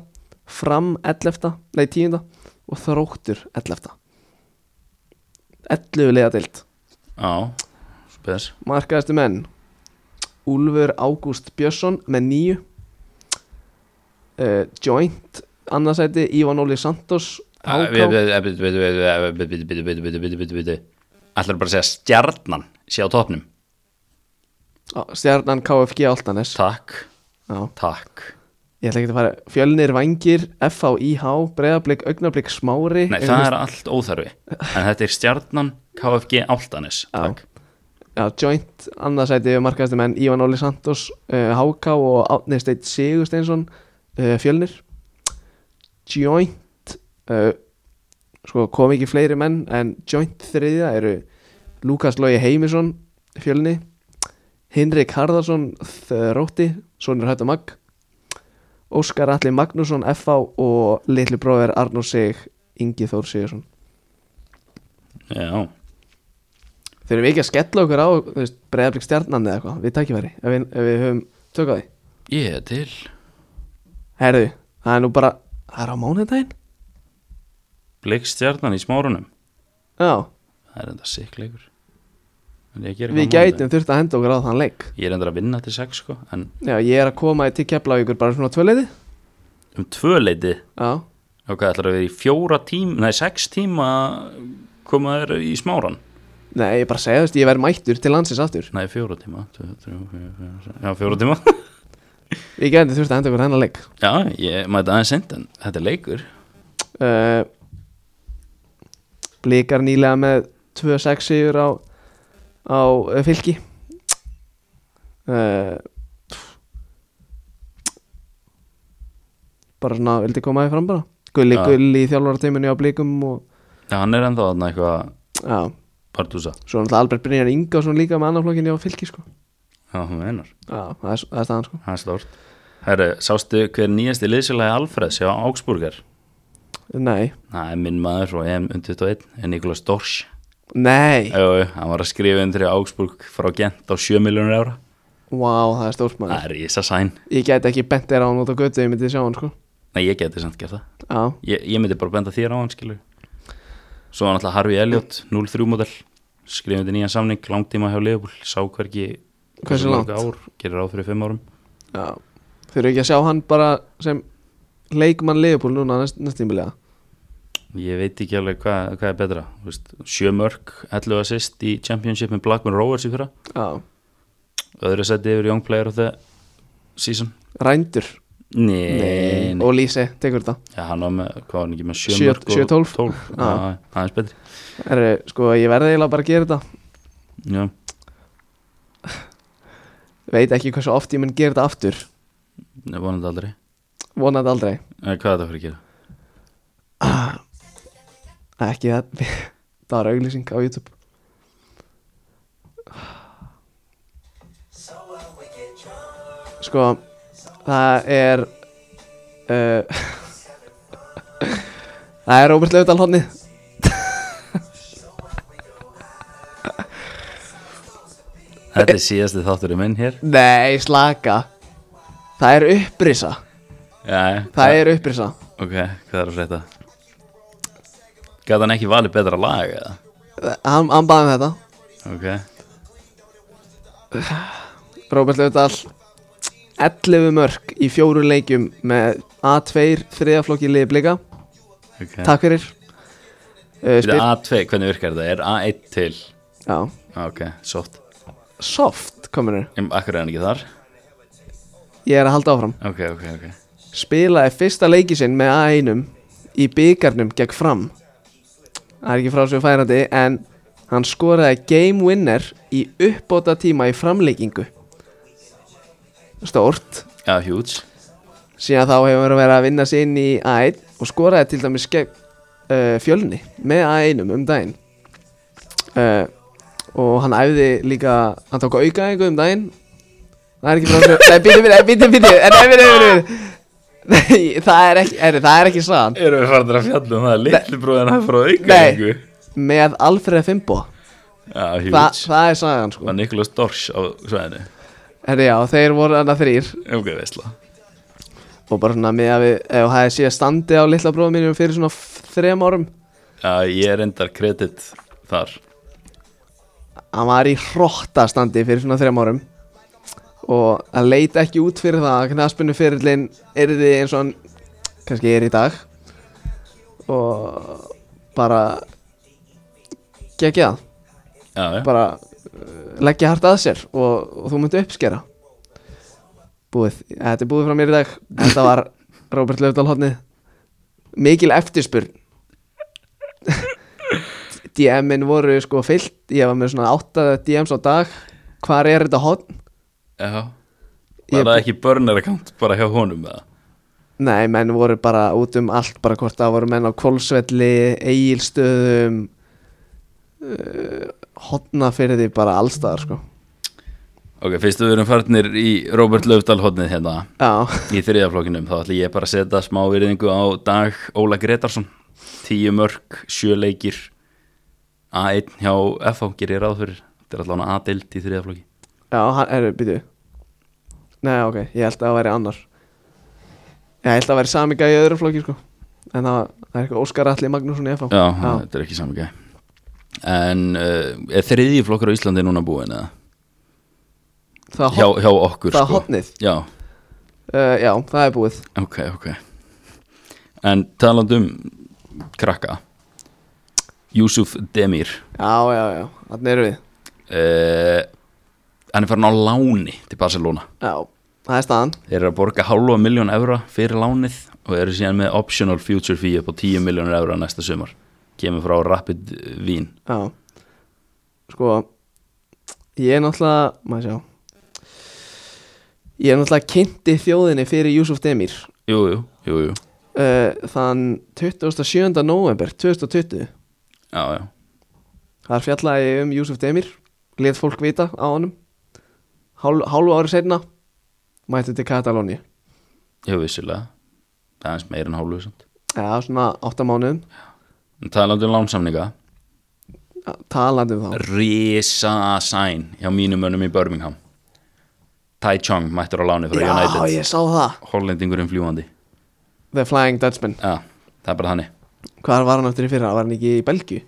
Speaker 1: Fram 11. Nei 10. Og Þróttur 11. 11 leiðadild
Speaker 2: Já, spes
Speaker 1: Markaðastu menn Úlfur Ágúst Björnsson með nýju uh, Joint annarsæti Ívan Óli Santos
Speaker 2: Æ,
Speaker 1: HK
Speaker 2: við- við- við- við- við- við- við- við- við- við- við- við- við- við- við- Ætlarðu bara að segja stjarnan sé á topnum
Speaker 1: Á, Ah, Stjarnan KFG Altanes
Speaker 2: Takk,
Speaker 1: Já.
Speaker 2: takk
Speaker 1: Ég ætla ekki að fara Fjölnir Vangir FHIH Breiðablík Augnablík Smári
Speaker 2: Nei, það er allt óþarfi En þetta er stjarnan KFG Áltanis
Speaker 1: Já.
Speaker 2: Takk
Speaker 1: Já, joint, annarsæti við markaðastu menn Ívan Óli Santos, uh, HK og Átni Steit Sigursteinsson uh, Fjölnir Joint uh, sko kom ekki fleiri menn en joint þriðja eru Lukas Lógi Heimisson Fjölni Hinrik Harðarsson Þrótti, Sónir Hættu Magg Óskar Alli Magnússon FH og litli bróðir Arnó Sig Ingi Þór Sigursson
Speaker 2: Já,
Speaker 1: Þurfum við ekki að skella okkur á breyðarblik stjarnan eða eitthvað, við tækifæri ef við, ef við höfum tök á því
Speaker 2: ég er til
Speaker 1: Herðu, það er nú bara, það er á mánudaginn?
Speaker 2: Blik stjarnan í smárunum
Speaker 1: Já,
Speaker 2: Það er enda sikleikur En ég geri
Speaker 1: við
Speaker 2: hvað á mánudaginn.
Speaker 1: gætum þurft að henda okkur á þann leik
Speaker 2: Ég er enda að vinna til sex sko En
Speaker 1: Já, ég er að koma til Keflavíkur bara svona tvöleiði
Speaker 2: um tvö leiti
Speaker 1: Já,
Speaker 2: Ok, ætlar að vera í fjóra tíma Nei, sex tíma koma þér í smáran
Speaker 1: nei, ég bara segja þú veist, ég verð mættur til landsins aftur
Speaker 2: Nei, fjóra tíma tvö, þrjú, fjóra, fjóra, Já, fjóra tíma [laughs]
Speaker 1: Við gætum þurft að henda okkur hennar leik
Speaker 2: Já, ég mæta aðeins sent En þetta er leikur
Speaker 1: uh, Blikar nýlega með 2-6 sigur á, á uh, fylki uh, Bara svona, vildi koma því fram bara Gulli,
Speaker 2: Já.
Speaker 1: gulli í þjálfarateiminu á blikum og,
Speaker 2: Já, hann er enda þarna eitthvað
Speaker 1: Já,
Speaker 2: Partúsa
Speaker 1: svo er náttúrulega Albert Brynjar Inga og svona líka með annarflokkinni á fylki sko
Speaker 2: Já, hún einar
Speaker 1: Já, það er, það er staðan sko
Speaker 2: Það er stórt Herru, sástu hver nýjasti liðsélagi Alfreds hjá Augsburger?
Speaker 1: Nei,
Speaker 2: Það er minn maður frá EM um 21 er Nikolas Dorsch
Speaker 1: nei,
Speaker 2: Jú, jú, hann var að skrifa undir í Augsburg frá Gent á 7 miljónur ára
Speaker 1: vá, wow, það er stórt
Speaker 2: Það
Speaker 1: maður
Speaker 2: er ísa sæn
Speaker 1: Ég gæti ekki bent þér á hann út á götu, ég myndi sjá hann sko
Speaker 2: Nei, ég geti samt gert það
Speaker 1: Já,
Speaker 2: Ég, ég myndi bara benda þér á hann, skilur Svo var náttúrulega Harvey Elliot, 0-3 model skrifa undir nýjan samning, langtíma hjá Leopold sá hverki
Speaker 1: Hversu
Speaker 2: mörg
Speaker 1: langt?
Speaker 2: ár, gerir ráð fyrir 5 árum
Speaker 1: Já, þurfum ekki að sjá hann bara sem leikmann Leopold núna næst, næstímilega
Speaker 2: Ég veit ekki alveg hvað, hvað er betra Þú veist, Sjö mörg, 11 assist í Championship með Blackburn Rovers í fyrra
Speaker 1: Já,
Speaker 2: öðru seti yfir Young Player of the Season
Speaker 1: rændur
Speaker 2: Nei, nei.
Speaker 1: Og Lise, tekur þetta
Speaker 2: Já, hann var með, hvað var hann ekki með
Speaker 1: Sjö-
Speaker 2: 7 mörg
Speaker 1: sjö
Speaker 2: og
Speaker 1: tólf.
Speaker 2: 12
Speaker 1: Já.
Speaker 2: Já, aðeins betri
Speaker 1: Herri, sko, ég verði eiginlega bara að gera þetta
Speaker 2: Já,
Speaker 1: Veit ekki hversu oft ég mun gera þetta aftur
Speaker 2: ég vonandi aldrei
Speaker 1: Vonað aldrei
Speaker 2: Eh, Hvað er þetta fyrir að gera?
Speaker 1: Ekki það [laughs] Það var auglýsing á YouTube Sko, það er uh, [laughs] Það er Róbert Löfdal hodni
Speaker 2: Þetta er síðasti þátturinn minn hér
Speaker 1: Nei, slaka Það er upprisa
Speaker 2: Já,
Speaker 1: Það er upprisa
Speaker 2: Ok, hvað er að frétta? Gat hann ekki valið betra lag eða?
Speaker 1: Hann, hann baði um þetta
Speaker 2: Ok,
Speaker 1: Róbert Löfdal 11 mörg í fjóru leikjum með A2 þriðaflokki liði blika
Speaker 2: ok
Speaker 1: Takk fyrir uh,
Speaker 2: Þetta
Speaker 1: spyr,
Speaker 2: er A2, hvernig virkar þetta? Er A1 til?
Speaker 1: já.
Speaker 2: Já, Ok, sótt
Speaker 1: Soft kominur
Speaker 2: Em, Akkur er hann ekki þar?
Speaker 1: Ég er að halda áfram
Speaker 2: Ok, ok, ok
Speaker 1: Spilaði fyrsta leiki sinn með A1 Í byggarnum gegn fram Það er ekki frá svo færandi En hann skoraði game winner Í uppbóta tíma í framleikingu Stórt
Speaker 2: Já, huge
Speaker 1: síðan þá hefur hann verið að vinna sig inn í A1 og skoraði til dæmis gegn uh, fjölni með A1 um daginn uh, og hann æfði líka hann tók auka einhver um daginn það er ekki frá þessu nei, býti, býti, býti, býti en, nei, býti, býti, býti nei, það er ekki, er, það er ekki sann
Speaker 2: Erum við farin að fjalla um það? Lillu bróðin hann frá
Speaker 1: Nei. með Alfreð Fimbo
Speaker 2: Já,
Speaker 1: Þa,
Speaker 2: huge
Speaker 1: það er sagan sko
Speaker 2: var Niklas Dorsch á svæðinu
Speaker 1: Herri, já, þeir voru annað þrýr
Speaker 2: ok, veistla
Speaker 1: og bara svona með að við, ef það er síðan standi á litla bróðum mínum fyrir svona f- þrem árum
Speaker 2: Já, ég er endar kredit þar
Speaker 1: hann var í hróttastandi fyrir svona þrem árum og hann leit ekki út fyrir það að knaspinu fyrirlin erði eins og hann kannski er í dag og bara gegja
Speaker 2: Já, já,
Speaker 1: bara uh, leggja hart að sér og, og þú myndi uppskera búið, eh, þetta er búið frá mér í dag þetta var Róbert Löfdal hotnið mikil eftirspurn DM-in voru sko fyllt ég var með svona 8 DMs á dag hvar er þetta hotn?
Speaker 2: já
Speaker 1: Ég-
Speaker 2: Var það ekki burner account bara hjá honum eða?
Speaker 1: Nei, menn voru bara út um allt bara hvort það voru menn á Kolsvelli Egilstöðum uh, hotna fyrir því bara allstaðar sko
Speaker 2: Ok, fyrst við erum farnir í Robert Löfdal hodnið hérna
Speaker 1: Já,
Speaker 2: í þriðaflokkinum þá ætlum ég bara að setja smá virðingu á dag Óla Gretarsson tíu mörg, sjöleikir A1 hjá FH gerir ég ráð fyrir, þetta er allan A-dild í þriðaflokki
Speaker 1: Já, hann, herru, býtu Nei, ok, ég held að það væri annar Ég held að það væri sami gæði í öðru flokki, sko En það, var- það er eitthvað Óskar Alli Magnússon í FH
Speaker 2: Já, þetta er ekki saman gæ En uh, er þriðji flokkur á Íslandi núna búin eða?
Speaker 1: það,
Speaker 2: Hjá,
Speaker 1: hot,
Speaker 2: hjá okkur
Speaker 1: það
Speaker 2: sko
Speaker 1: hotnið
Speaker 2: Já,
Speaker 1: uh, Já, það er búið
Speaker 2: ok, ok En taland um krakka Júsuf Demir
Speaker 1: Já, já, já, þannig erum við
Speaker 2: uh, Hann er farin á láni til Barcelona
Speaker 1: Já, það er staðan
Speaker 2: Þeir eru að borga hálfa miljón evra fyrir lánið og eru síðan með optional future fee upp á 10 miljónur evra næsta sumar kemur frá Rapid Vín
Speaker 1: Já Sko Ég er náttúrulega Maður sjá Ég er náttúrulega kynnti þjóðinni fyrir Júsuf Demir
Speaker 2: Jú, jú, jú, jú
Speaker 1: uh, Þann 27. november 2020
Speaker 2: Já, já,
Speaker 1: Þar fjallaði ég um Júsuf Demir Let fólk vita á honum Hál, Hálfu ári setna Mætti til Katalóni
Speaker 2: jú, vissilega Það er aðeins meira en hálfu samt
Speaker 1: Já, svona átta mánuðum
Speaker 2: En talandi um lánsamninga
Speaker 1: Ja, Talandi um þá
Speaker 2: Risa sæn hjá mínum önum í Birmingham Tai Chong mættur á láni frá
Speaker 1: Já,
Speaker 2: United
Speaker 1: ég sá það
Speaker 2: Hollendingurinn fljúandi
Speaker 1: The Flying Dutchman
Speaker 2: Já, það er bara þannig
Speaker 1: Hvar var hann aftur í fyrra? Var hann ekki í Belgíu?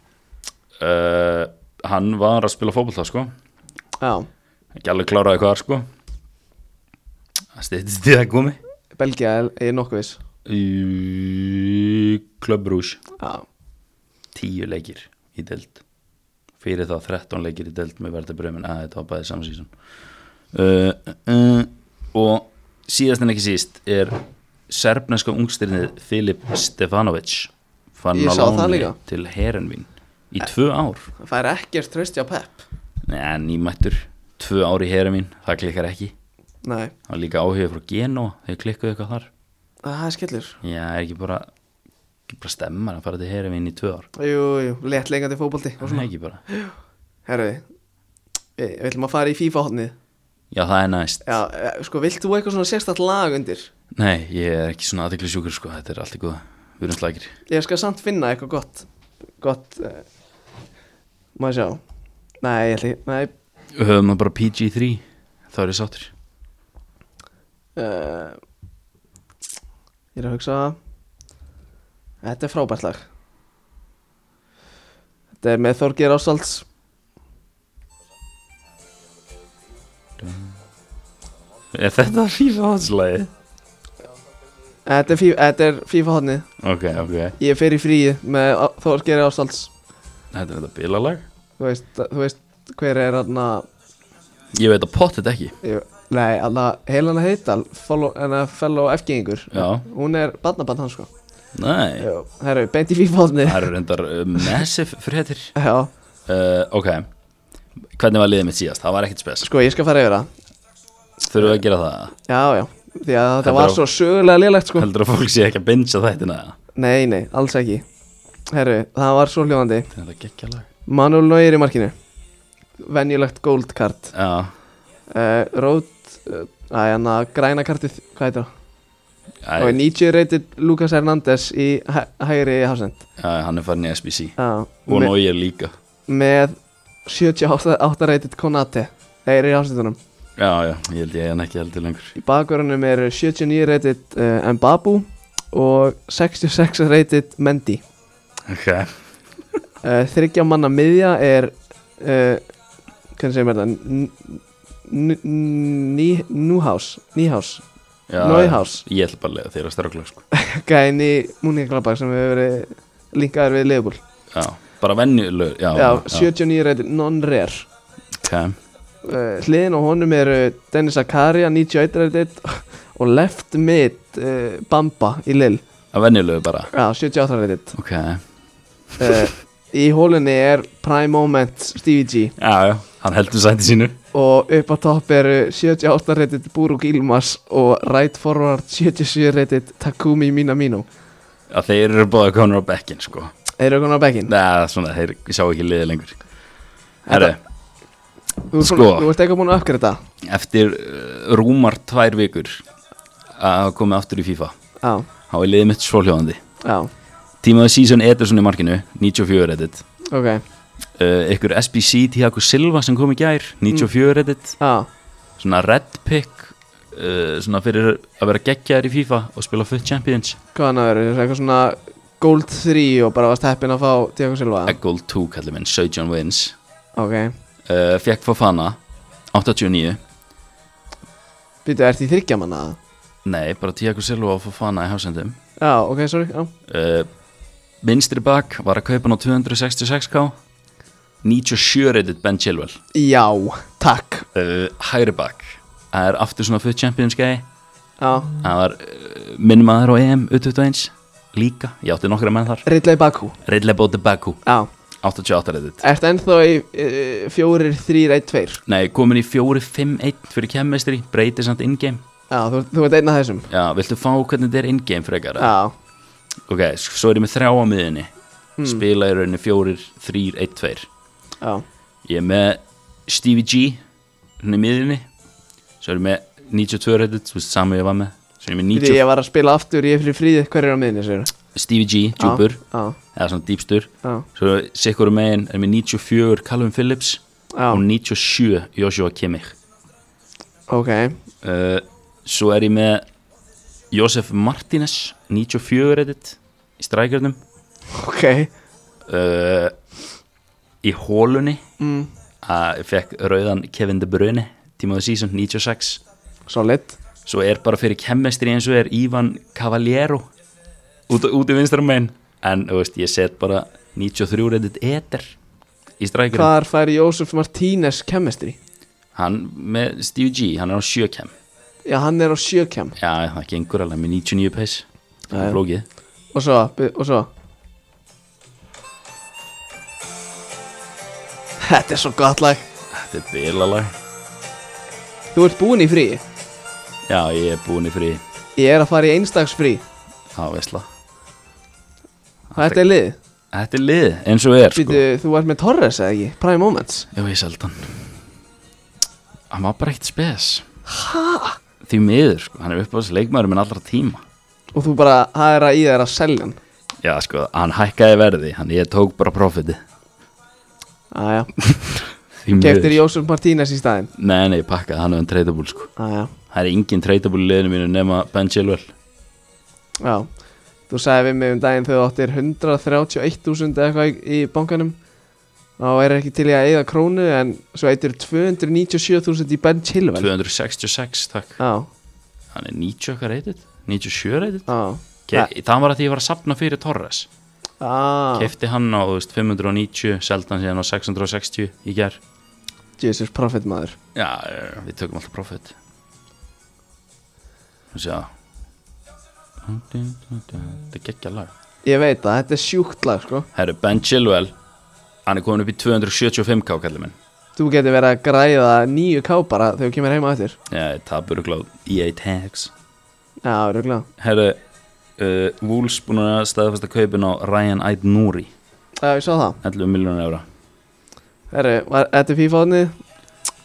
Speaker 2: uh, Hann var að spila fótbolta sko
Speaker 1: Já,
Speaker 2: Ekki alveg kláraði hvað sko Það stýttist í það komi
Speaker 1: Belgía er, er nokkuð viss
Speaker 2: Í Club Rouge
Speaker 1: Já,
Speaker 2: Tíu leikir í deild Fyrir þá 13 leikir í deild með verði brömin að þetta var bæðið samsísun uh, uh, Og síðast en ekki síst er serbneska ungstyrnið Filip Stefanovic fann
Speaker 1: Ég
Speaker 2: á
Speaker 1: sá það
Speaker 2: láni
Speaker 1: líka.
Speaker 2: til Herenvín í tvö ár
Speaker 1: það fær ekkert tröst hjá Pep
Speaker 2: Nei, nýmættur, tvö ár í Herenvín það klikkar ekki,
Speaker 1: Nei,
Speaker 2: það var líka áhugð frá Genoa þegar klikkuðu eitthvað þar
Speaker 1: það er skellur
Speaker 2: Já, er ekki bara, ekki bara stemmar að fara til Herenvín í tvö ár
Speaker 1: Jú, jú, létt lengandi fótbolti og
Speaker 2: Það er
Speaker 1: svona.
Speaker 2: ekki bara
Speaker 1: Herru, við við ætlum að fara í FIFA hotnið
Speaker 2: Já, það er næst.
Speaker 1: Já, eh, sko, vilt þú eitthvað svona sérstætt lag undir?
Speaker 2: Nei, ég er ekki svona aðtekli sjúkur, sko. Þetta er allt í góða. Við erum slækir.
Speaker 1: Ég skal samt finna eitthvað gott Gott uh, Má ég sjá Nei, ég ætli Nei
Speaker 2: Við höfum það bara PG-3. Það er ég sáttur.
Speaker 1: uh, Ég er að hugsa Þetta er frábært lag Þetta er með Þorgeir Ásvalds
Speaker 2: Er þetta FIFA hanslæði?
Speaker 1: Þetta er, fí- þetta er FIFA hotnið
Speaker 2: Ok, ok.
Speaker 1: Ég fer í fríi með Á- Þorgeir Ásvalds
Speaker 2: Þetta er þetta bilalag?
Speaker 1: Þú veist, þú veist hver er hann
Speaker 2: Ég veit að pott þetta ekki.
Speaker 1: Nei, hann að Helena Heidal follow, hana, Fellow FG-ingur
Speaker 2: Já.
Speaker 1: Hún er badnabann hans sko
Speaker 2: Nei.
Speaker 1: Herru, beint í FIFA hotnið
Speaker 2: [laughs] Það eru reyndar uh, massive fréttir.
Speaker 1: Já,
Speaker 2: Uh, ok. Hvernig var liðið mitt síðast? Það var ekkert spes.
Speaker 1: sko ég skal fara yfir það
Speaker 2: Þurfum við að gera það?
Speaker 1: Já, já, því að þetta
Speaker 2: Heldur
Speaker 1: var
Speaker 2: á-
Speaker 1: svo sögulega lélegt sko
Speaker 2: Heldur að fólk sé ekki að bingja þættina?
Speaker 1: Nei, nei, alls ekki Herru, það var svo hljóðandi
Speaker 2: Þetta er geggja lag.
Speaker 1: Manuel Neuer í markinu Venjulegt gold card
Speaker 2: Já.
Speaker 1: uh, Rót, uh, að hann að græna kartið, hvað heitir það? Og
Speaker 2: Æ,
Speaker 1: 90 rated Lucas Hernandez í hæ hægri hafsend
Speaker 2: æ, hann er farin í SBC.
Speaker 1: Já,
Speaker 2: Og
Speaker 1: me
Speaker 2: Nóið líka.
Speaker 1: með 78 rated Konate Þeir eru í hafsendunum
Speaker 2: já, já, ég held ég eigi hann ekki heldur lengur
Speaker 1: Í bakverðunum er 79 rated uh, Mbabu og 66 rated Mendy
Speaker 2: ok,
Speaker 1: uh, Þryggja manna miðja er uh, hvernig segir mér það Núhás Nýhás,
Speaker 2: já,
Speaker 1: Nóihás
Speaker 2: ég ætla bara að lega þeirra ströggla sko.
Speaker 1: Gæni Múninglabak sem hefur verið linkaður við Leopold
Speaker 2: já, bara venjulegur já,
Speaker 1: Já, 79 rated non-rare
Speaker 2: ok,
Speaker 1: uh, hliðin á honum er uh, Dennis Akaria, 98 rated [laughs] og left mid uh, Bamba í Lill,
Speaker 2: að venjulegur bara
Speaker 1: já, 78 rated
Speaker 2: ok, já,
Speaker 1: uh, í hólunni er Prime Moment Stevie G
Speaker 2: já, hann heldur sæti sínu
Speaker 1: og upp á topp eru 78 rated Buruk Ilmas og right forward 77 rated Takumi Minamino
Speaker 2: að þeir eru báða konur á bekkin sko.
Speaker 1: eru konar á bekkin
Speaker 2: neða, svona, þeir sjá ekki liðið lengur herru,
Speaker 1: Þetta- þú, ert
Speaker 2: sko.
Speaker 1: búin- þú ert eitthvað búin að uppgreita
Speaker 2: eftir uh, rúmar tvær vikur að koma aftur í FIFA
Speaker 1: já,
Speaker 2: þá er liðið mitt svoljóðandi
Speaker 1: já,
Speaker 2: tímaðu season Ederson í markinu 94 reddit
Speaker 1: ok
Speaker 2: uh, ykkur SBC Tiago Silva sem kom í gær 94 reddit
Speaker 1: já,
Speaker 2: svona red pick uh, svona fyrir að vera geggjaður í FIFA og spila Foot Champions
Speaker 1: hvað hann að vera, eitthvað svona Gold 3 og bara varst heppin að fá Diego Silva
Speaker 2: Eggold 2 kallir minn, 17 wins
Speaker 1: ok,
Speaker 2: uh, fekk Fofana 89
Speaker 1: býtu, ert í þryggja manna það?
Speaker 2: nei, bara Tiago Silva og Fofana í hafsendum
Speaker 1: Já, ok, sorry já.
Speaker 2: uh, vinstri bak var að kaupa hann á 266k 97 reddit Ben Chilwell
Speaker 1: já, takk
Speaker 2: uh, hægri bak það er aftur svona Foot Champions gæði
Speaker 1: Já,
Speaker 2: Það var uh, minn maður á EM U21 líka, ég átti nokkra menn þar
Speaker 1: Ridley Baku
Speaker 2: Ridley Bóti Baku,
Speaker 1: Já,
Speaker 2: 88 reddit
Speaker 1: ert ennþá í uh, fjórir, þrýr, eitt, tveir
Speaker 2: Nei, komin í 4-5-1 fyrir kemmestri, breytið samt in-game
Speaker 1: Já, þú, þú ert einn af þessum
Speaker 2: Já, viltu fá hvernig þetta er in-game frekar?
Speaker 1: Já,
Speaker 2: Ok, s- svo er ég með þrjá á miðinni
Speaker 1: Hmm.
Speaker 2: Spila í rauninni 4-3-1-2
Speaker 1: já,
Speaker 2: Ég er með Stevie G hann í miðinni Svo er ég með 92 reddit, þú veist saman ég var með Svo er ég með
Speaker 1: Bíddu,
Speaker 2: 90,
Speaker 1: ég var að spila aftur, ég er fyrir fríði Hver er á miðinni, segir
Speaker 2: Stevie G, djúpur
Speaker 1: Já,
Speaker 2: eða svona dýpstur
Speaker 1: já,
Speaker 2: Svo sikkur megin er með 94 Calvin Phillips
Speaker 1: já,
Speaker 2: og 97 Joshua Kimmich
Speaker 1: ok
Speaker 2: uh, Svo er ég með Josef Martínez 94 reddit í strækjörnum
Speaker 1: Ok,
Speaker 2: uh, Í hólunni
Speaker 1: mm,
Speaker 2: að ég fekk rauðan Kevin De Bruyne tímaðu season 96
Speaker 1: solid
Speaker 2: Svo er bara fyrir kemmestri eins og er Ivan Cavaliero út, út í vinstramein en þú veist, ég set bara 93 reddit eter í strækjörnum
Speaker 1: Hvar fær Jósef Martínez chemistry?
Speaker 2: Hann með Steve G, hann er á 7 kem
Speaker 1: Já, hann er á sjökem
Speaker 2: Já, það gengur alveg með 99 pace Það
Speaker 1: Já, já.
Speaker 2: er flókið
Speaker 1: Og svo, bi- og svo Þetta er svo gott lag
Speaker 2: Þetta er bilalag
Speaker 1: Þú ert búinn í fríi
Speaker 2: Já, ég er búin í frí
Speaker 1: Ég er að fara í einstagsfrí
Speaker 2: á Vesla
Speaker 1: Þetta er lið
Speaker 2: Þetta er lið, eins og er sko
Speaker 1: Býtu, Þú ert með Torres eða ekki? Prime Moments
Speaker 2: Jú, ég seldi hann Hann var bara eitt spes Hæ? Því miður, sko, hann er uppáðs leikmaður minn allra tíma
Speaker 1: Og þú bara hæðra í þér að selja hann
Speaker 2: Já, sko, hann hækkaði verði Hann ég tók bara profiti
Speaker 1: Æja
Speaker 2: Því
Speaker 1: Keftir
Speaker 2: miður
Speaker 1: Jósef Martínez í staðinn
Speaker 2: Nei, nei, ég pakkaði hann er um treytabúl, sko
Speaker 1: Æja
Speaker 2: Það er engin treytabúl í liðinu mínu nema Ben Chilwell
Speaker 1: Já Þú sagði við mig um daginn þegar þú áttir 131.000 eða eitthvað í, í bankanum Og er ekki til í að eyða krónu En svo eittir 297.000 í Ben Chilwell
Speaker 2: 266, takk
Speaker 1: Já,
Speaker 2: Hann er 90 okkar reytið 97 reytið
Speaker 1: já
Speaker 2: Það var að því ég var að sapna fyrir Torres
Speaker 1: Ah,
Speaker 2: Kefti hann á þú veist, 590, seldi hann síðan á 660 í ger
Speaker 1: Jesus Prophet maður
Speaker 2: Já, já, við tökum alltaf profit Þú sé að Þetta er geggja lag
Speaker 1: Ég veit það, þetta er sjúkt lag sko
Speaker 2: Herru, Ben Chilwell Hann er komin upp í 275k kallið minn
Speaker 1: Þú getur verið að græða nýju ká bara þegar þú kemur heima eftir
Speaker 2: Já, ég tapur og gláð EA Tags
Speaker 1: Já, rúglega
Speaker 2: E Herru, uh, Wolves búin að staðfesta kaupin á Ryan Aid Nuri
Speaker 1: Já, ég sá það
Speaker 2: 11 miljónur eura
Speaker 1: Herru, var þetta fífáðni?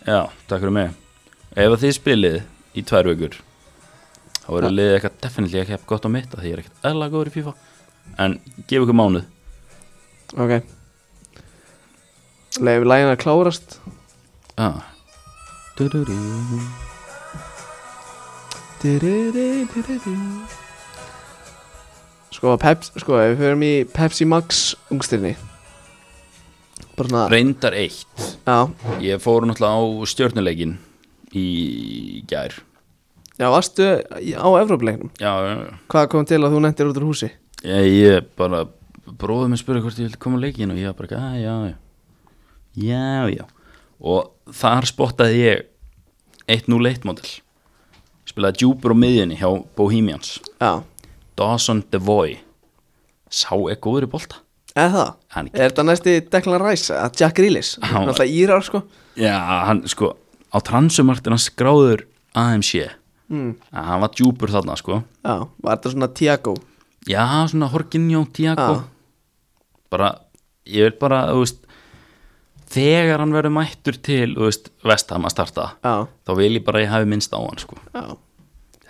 Speaker 2: Já, takk fyrir mig Ef að þið spilið í tvær vökur þá
Speaker 1: Ja.
Speaker 2: verður liðið eitthvað definitely ekki jafn gott á mitt af því ég er ekkert eðla góður í FIFA en gefa ykkur mánuð
Speaker 1: Ok Leifum lægin að klárast
Speaker 2: ah. Du-du-du.
Speaker 1: Sko, Peps, sko, ef við förum í Pepsi Max ungstirni Bara svona,
Speaker 2: Reyndar eitt
Speaker 1: já,
Speaker 2: Ég fór náttúrulega á stjörnuleikin í gær
Speaker 1: já, varstu í- á Evrópuleiknum
Speaker 2: Já, já, já
Speaker 1: Hvað kom til að þú nendir út úr húsi?
Speaker 2: Ég, ég bara bróðið mér spurði hvort ég vildi koma á leikin og ég var bara, ekki, "Ah, já, já Já, já Og þar spottaði ég 1-0-1 model Spilaði djúpur á miðjunni hjá Bohemians
Speaker 1: Já,
Speaker 2: Dawson Devoy Sá er góður í bolta
Speaker 1: eða það?
Speaker 2: Hann-
Speaker 1: Er þetta næsti Declan Rice, að Jack Grealish?
Speaker 2: Hann var-
Speaker 1: Náttúrulega Írar, sko
Speaker 2: Já, hann sko Á transumartina skráður AMC mm. Hann var djúpur þarna sko
Speaker 1: Já, var þetta svona Tiago
Speaker 2: Já, svona Horkinjó, Tiago
Speaker 1: Já.
Speaker 2: Bara, ég vil bara, þú veist Þegar hann verður mættur til, þú veist, vestam að starta
Speaker 1: Já,
Speaker 2: Þá vil ég bara að ég hafi minnst á hann sko
Speaker 1: já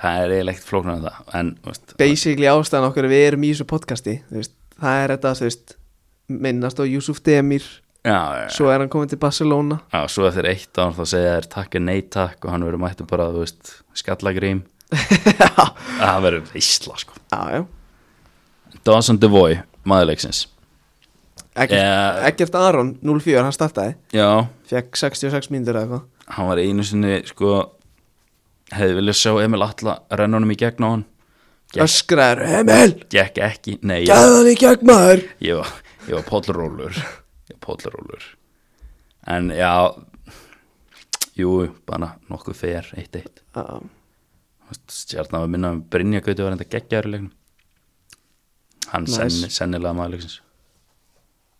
Speaker 2: Það er eiginlega eitt flóknar en það En, þú veist,
Speaker 1: Basically ástæðan okkur við erum í þessu podcasti þú veist, Það er þetta, þú veist Minnast á Yusuf Demir
Speaker 2: já, já,
Speaker 1: Svo er hann komin til Barcelona
Speaker 2: já, svo eftir eitt ár þá segja þér takk er nei takk Og hann verður mættur bara, þú veist, skallagrím Það verður veisla sko
Speaker 1: Já, já
Speaker 2: Dawson Devoy, maðurleiksins
Speaker 1: Ekkert,
Speaker 2: Eh.
Speaker 1: ekkert Aron 04, hann startaði
Speaker 2: Já,
Speaker 1: Fekk 66 mínútur eða eitthvað
Speaker 2: hann var einu sinni sko hefði viljað sjá Emil Atla renna honum í gegn á hann Gekk.
Speaker 1: Öskraður, Emil,
Speaker 2: gekk ekki, nei ég,
Speaker 1: gæða hann í gegn maður
Speaker 2: ég var, ég var póllurólur ég var póllurólur en já jú, bara nokkuð fer eitt eitt,
Speaker 1: Já,
Speaker 2: stjarnan var minna um Brynja Gauti var enda geggjaður í leiknum hann
Speaker 1: Nice.
Speaker 2: senni, sennilega maður leiksins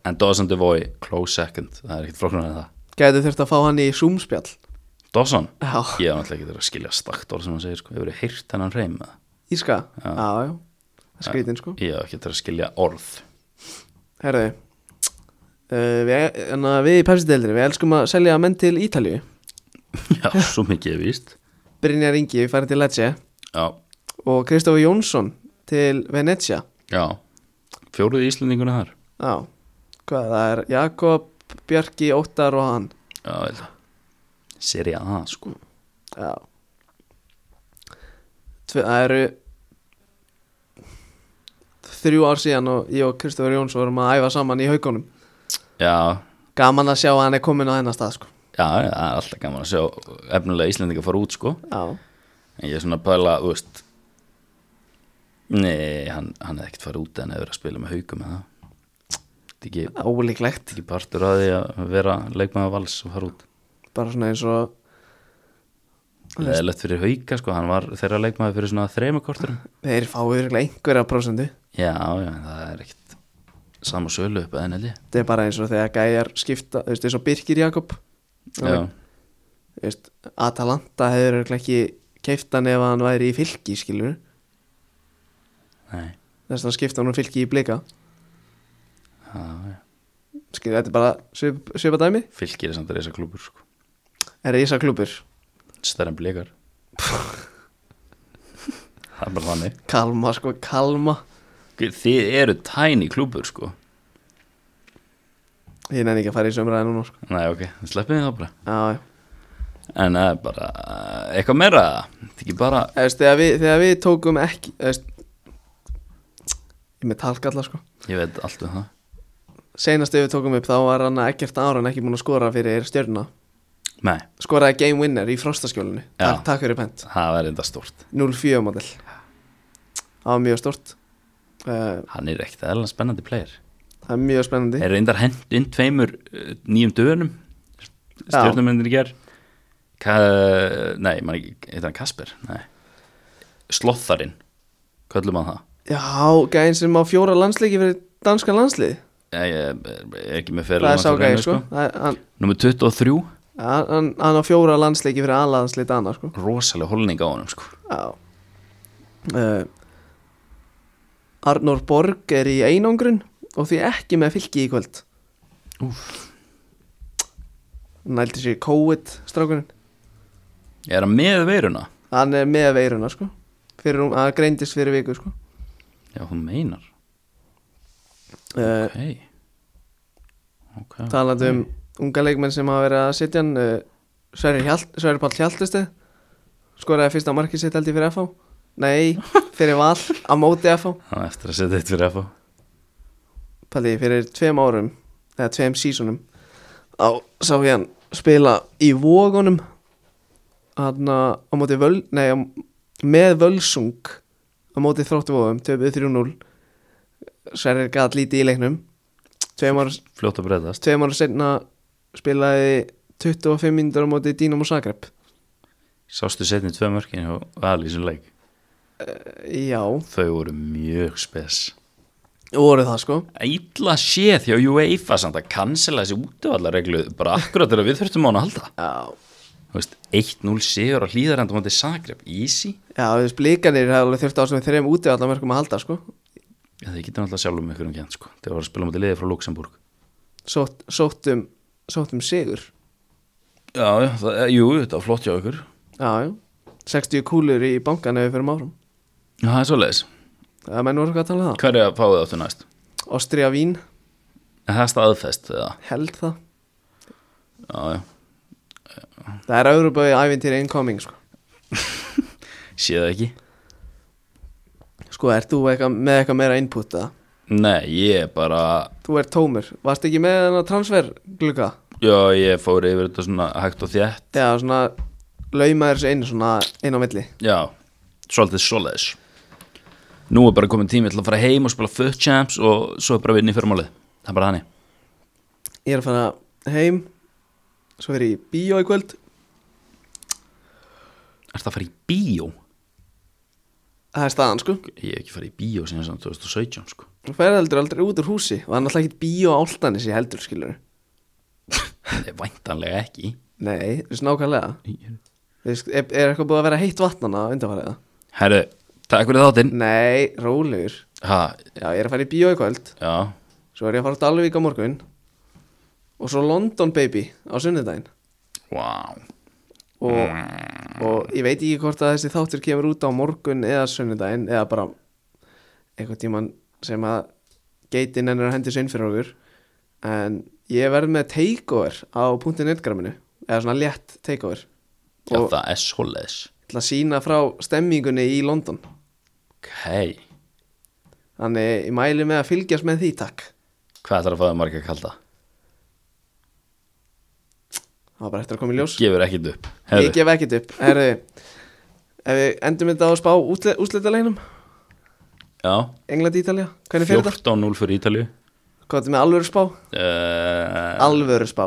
Speaker 2: en Dawson Devoy, close second það er ekkert flokkunar en það
Speaker 1: Gæðu þurft að fá hann í Zoom-spjall
Speaker 2: Dawson,
Speaker 1: Já,
Speaker 2: ég var náttúrulega ekki til að skilja staktor sem hann segir sko, hefur þið heyrt hennan reym með það
Speaker 1: Íska, já, já, já. Skrítin sko
Speaker 2: Ég hef ekki til að skilja orð [laughs]
Speaker 1: Herðu uh, við, en að við í Pepsi-deildri Við elskum að selja menn til Ítalju
Speaker 2: Já, svo mikið er víst
Speaker 1: Brynjar Ingi, við farum til Lecce
Speaker 2: Já,
Speaker 1: Og Kristofi Jónsson til Venezia
Speaker 2: já Fjóruð íslendinguna þar
Speaker 1: Já, hvað það er Jakob, Bjarki, Óttar og hann
Speaker 2: Já, vel Seri A, sko
Speaker 1: Já Tve, Það eru Þrjú ár síðan og ég og Kristofur Jóns vorum að æfa saman í haugunum
Speaker 2: Já,
Speaker 1: Gaman að sjá að hann er komin á hennar stað sko
Speaker 2: já, það er alltaf gaman að sjá Efnilega íslendinga fara út, sko
Speaker 1: Já,
Speaker 2: En ég er svona að pæla, þú veist Nei, hann, hann hefði ekkert fara út En hefur að spila með haukum með það Þetta er ekki, þetta
Speaker 1: ólíklegt
Speaker 2: er ekki partur að því að vera leikmaða vals og fara út
Speaker 1: Bara svona eins og
Speaker 2: Leðilegt fyrir hauka, sko, hann var þeirra leikmaði fyrir svona þreimakorturum
Speaker 1: þeir fáið virkulega einhverja prósendu
Speaker 2: Já, já, en það er ekkert sama sölu upp að held ég
Speaker 1: Þetta er bara eins og þegar gæjar skipta Þú veist eins og Birkir Jakob
Speaker 2: Já,
Speaker 1: Þú veist, Atalanta hefur virkulega ekki keiftan ef hann væri í fylki skilur
Speaker 2: nei
Speaker 1: Þess að skipta hann um fylki í blika
Speaker 2: já, já.
Speaker 1: Skilur, þetta er bara svip, svipa dæmi
Speaker 2: Fylgir er samt að reysa klúbur sko.
Speaker 1: Er Ísa klubur
Speaker 2: Stærri en blikar [laughs] Það er bara þannig
Speaker 1: Kalma sko, kalma
Speaker 2: Þið eru tæni klúbur sko
Speaker 1: Ég nenni ekki að fara í sömraði núna sko.
Speaker 2: Nei, ok, sleppið þið þá bara
Speaker 1: Já, já
Speaker 2: En það er bara eh, eitthvað meira Þetta er ekki bara
Speaker 1: Þú veist, Þegar við, þegar við tókum ekki þú veist, Ég er með talkalla sko
Speaker 2: Ég veit allt um það
Speaker 1: Seinast ef við tókum upp þá var hann ekkert áran ekki múin að skora fyrir stjörna
Speaker 2: Nei,
Speaker 1: Skoraði game winner í frostaskjólinu
Speaker 2: Já.
Speaker 1: Takk, takk fyrir pent
Speaker 2: það er enda stort
Speaker 1: 0-4 model Það var mjög stort uh,
Speaker 2: Hann er ekkert eða spennandi player
Speaker 1: Það er mjög spennandi
Speaker 2: Er reyndar hent inn tveimur eh, nýjum döðunum
Speaker 1: Já.
Speaker 2: Stjórnumöndir í ger Ka Nei, maður ekki, heitir hann Kasper? Nei Slotharinn, köllum hann það
Speaker 1: Já, gæðin sem á fjóra landsleiki fyrir danskan landslið
Speaker 2: Ég ég- ég er ekki með
Speaker 1: Það
Speaker 2: ferðar
Speaker 1: er sá gæðin sko, Það er- Hann,
Speaker 2: Númer 23,
Speaker 1: hann, hann- hann á fjóra landsleiki fyrir aðlaðanslið dana sko
Speaker 2: rosalega holning á honum sko.
Speaker 1: Já uh, Arnór Borg er í einangrun og því ekki með fylki í kvöld
Speaker 2: Úf.
Speaker 1: Nældi sér COVID strákurinn
Speaker 2: Er hann með veiruna?
Speaker 1: Hann er með veiruna sko fyrir, rúm- Hann greindist fyrir viku sko
Speaker 2: Já, þú meinar
Speaker 1: uh,
Speaker 2: hey. Ok
Speaker 1: Talandi um unga leikmenn sem hafa verið að setja hann uh, Sverri, Hjalt, Sverri Páll Hjaltusti skoraði fyrst á markið sitt held ég fyrir FH nei, fyrir val á móti FH
Speaker 2: Það er eftir að setja eitt fyrir FH
Speaker 1: Palli, fyrir tveim árum eða tveim sísunum þá sá ég hann spila í vógunum hann á móti völ, nei, á, með völsung á móti þróttivóðum, töpuð 3-0 Sverrir gæt lítið í leiknum tveim ára,
Speaker 2: Fljótt að breyðast
Speaker 1: tveim ára senna spilaði 25 mínútur á móti Dínamo Zagreb
Speaker 2: Sástu setni tvö mörkin hjá Val í þessum leik
Speaker 1: já,
Speaker 2: Þau voru mjög spes
Speaker 1: voru það sko
Speaker 2: Ætla séð hjá UEFA samt að cancela þessi útivallarreglu bara akkurat þegar við þurftum á hann að halda
Speaker 1: já,
Speaker 2: Þú veist, 1-0 sigur á hlýðarendum á þetta Zagreb, easy
Speaker 1: já þú veist, blikanir hefði alveg þurft á svona þreim útivallamörkum að halda sko
Speaker 2: Já, þið getur náttúrulega sjálfum ykkur um kjent sko. Þeir voru að spila um þetta liði frá Luxemburg
Speaker 1: Sótt, sóttum, sóttum sigur
Speaker 2: Já, já, það, jú, þetta var flott hjá ykkur
Speaker 1: Já, já, 60 kúlur í bankan ef við fyrir áfram
Speaker 2: Já, það er svoleiðis
Speaker 1: Það menn voru eitthvað að tala um það
Speaker 2: Hver er að fá þið áttu næst?
Speaker 1: Ástriða vín,
Speaker 2: Er það staðfest eða?
Speaker 1: held það
Speaker 2: Já, já
Speaker 1: Það er auðruböði ævintýri incoming sko
Speaker 2: Sé það ekki?
Speaker 1: Sko, ert þú eitthva, með eitthvað meira input að?
Speaker 2: Nei, ég bara
Speaker 1: Þú ert tómur, varst ekki með þennan transfer glugga?
Speaker 2: Já, ég fór yfir þetta svona hægt og þjætt
Speaker 1: Já, svona laumaður þessu inn svona inn á milli
Speaker 2: Já, svolítið svoleiðis Nú er bara komin tími til að fara heim og spila foot champs og svo er bara vinn í fyrrmálið Það er bara þannig
Speaker 1: Ég er að fara heim Svo fyrir í bíó í kvöld
Speaker 2: Er það að fara í bíó?
Speaker 1: Það er staðan sko
Speaker 2: Ég hef ekki farið í bíó síðan samt 2017 sko
Speaker 1: Þú fer heldur aldrei út úr húsi Var náttúrulega ekkit bíó áltanis í heldur skilur
Speaker 2: Það er væntanlega ekki
Speaker 1: Nei, þú veist nákvæmlega Þú veist, Er, er eitthvað búið að vera heitt vatnana undanfæriða?
Speaker 2: Herru, takk fyrir þáttinn
Speaker 1: Nei, rólegur
Speaker 2: Ha,
Speaker 1: Já, ég er að fara í bíó í kvöld
Speaker 2: já
Speaker 1: Svo er ég að fara á Dalvík á morgun Og svo London Baby á sunnudaginn
Speaker 2: Vá
Speaker 1: og, og ég veit ekki hvort að þessi þáttur kemur út á morgun eða sunnudaginn Eða bara einhvern tímann sem að geitin ennur hendi sinn fyrir okkur En ég verð með takeover á punktin netgraminu Eða svona létt takeover
Speaker 2: Já,
Speaker 1: Og-
Speaker 2: það er svoleiðis
Speaker 1: Til að sína frá stemmingunni í London
Speaker 2: Ok
Speaker 1: Þannig ég mæli með að fylgjast með því takk
Speaker 2: Hvað ætlar að fá það marga kalda?
Speaker 1: Það var bara eftir að koma í ljós
Speaker 2: Gefur ekkert upp
Speaker 1: Ég gef ekkert upp Herðu, ef við endum þetta á að spá úsleitaleginum
Speaker 2: Já
Speaker 1: England Ítalja, hvernig fyrir þetta?
Speaker 2: 14-0 fyrir Ítalju
Speaker 1: Hvað er með alvöru spá?
Speaker 2: uh,
Speaker 1: Alvöru spá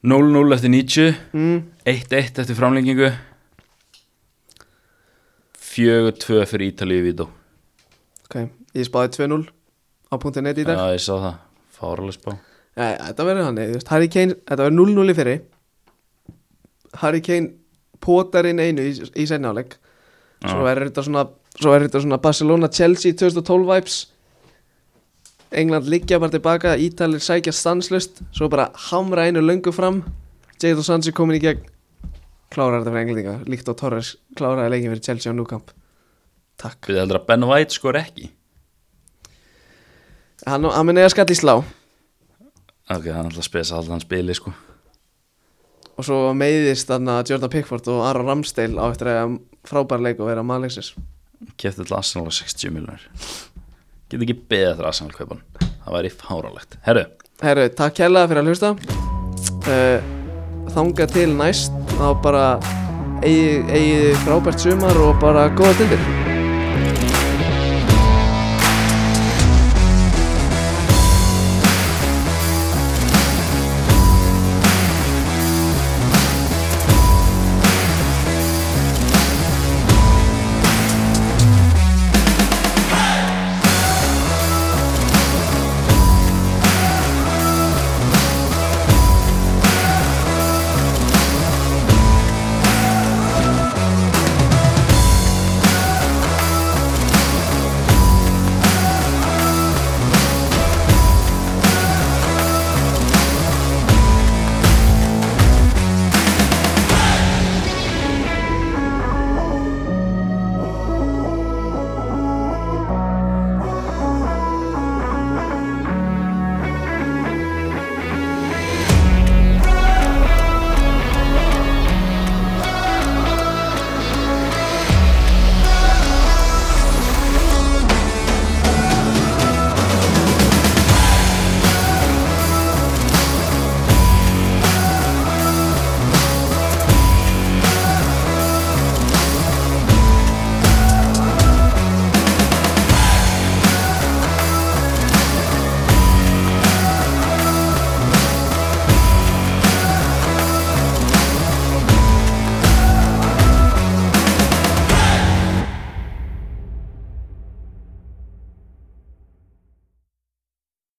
Speaker 2: 0-0 eftir 90
Speaker 1: mm,
Speaker 2: 1-1 eftir framlengingu 4-2 fyrir Ítalju í Vító
Speaker 1: Ok, ég spáði 2-0 á punktin 1 í dag
Speaker 2: Já, ég sá það Fáralega spá
Speaker 1: Nei, Þetta verður hann, þú veist, Harry Kane Þetta verður 0-0 í fyrir Harry Kane potar inn einu í, í sennáleik Svo verður þetta svona Svo verður þetta svona Barcelona-Chelsea 2012 vibes England liggja bara tilbaka, Ítalir sækja stanslust Svo bara hamra einu löngu fram Jadon Sancho komin í gegn Klárar þetta fyrir englendinga Líkt og Torres kláraði leikin fyrir Chelsea á Núkamp Takk
Speaker 2: Við heldur að Ben White skor ekki
Speaker 1: Hann, hann mun eiga skall í slá
Speaker 2: Ok, það er alltaf spes að halda hann spili sko
Speaker 1: Og svo meiðist þarna Jordan Pickford og Aron Ramsdale á eftir að frábær leik og vera maðurleiksins
Speaker 2: Kæfti til Arsenal á 60 miljonar Get ekki beðið eftir Arsenal kaupan Það væri fáralegt Herru,
Speaker 1: Herru, takk kærlega fyrir að hlusta uh, Þanga til næst Þá bara eigi, eigi frábært sumar og bara góða stundir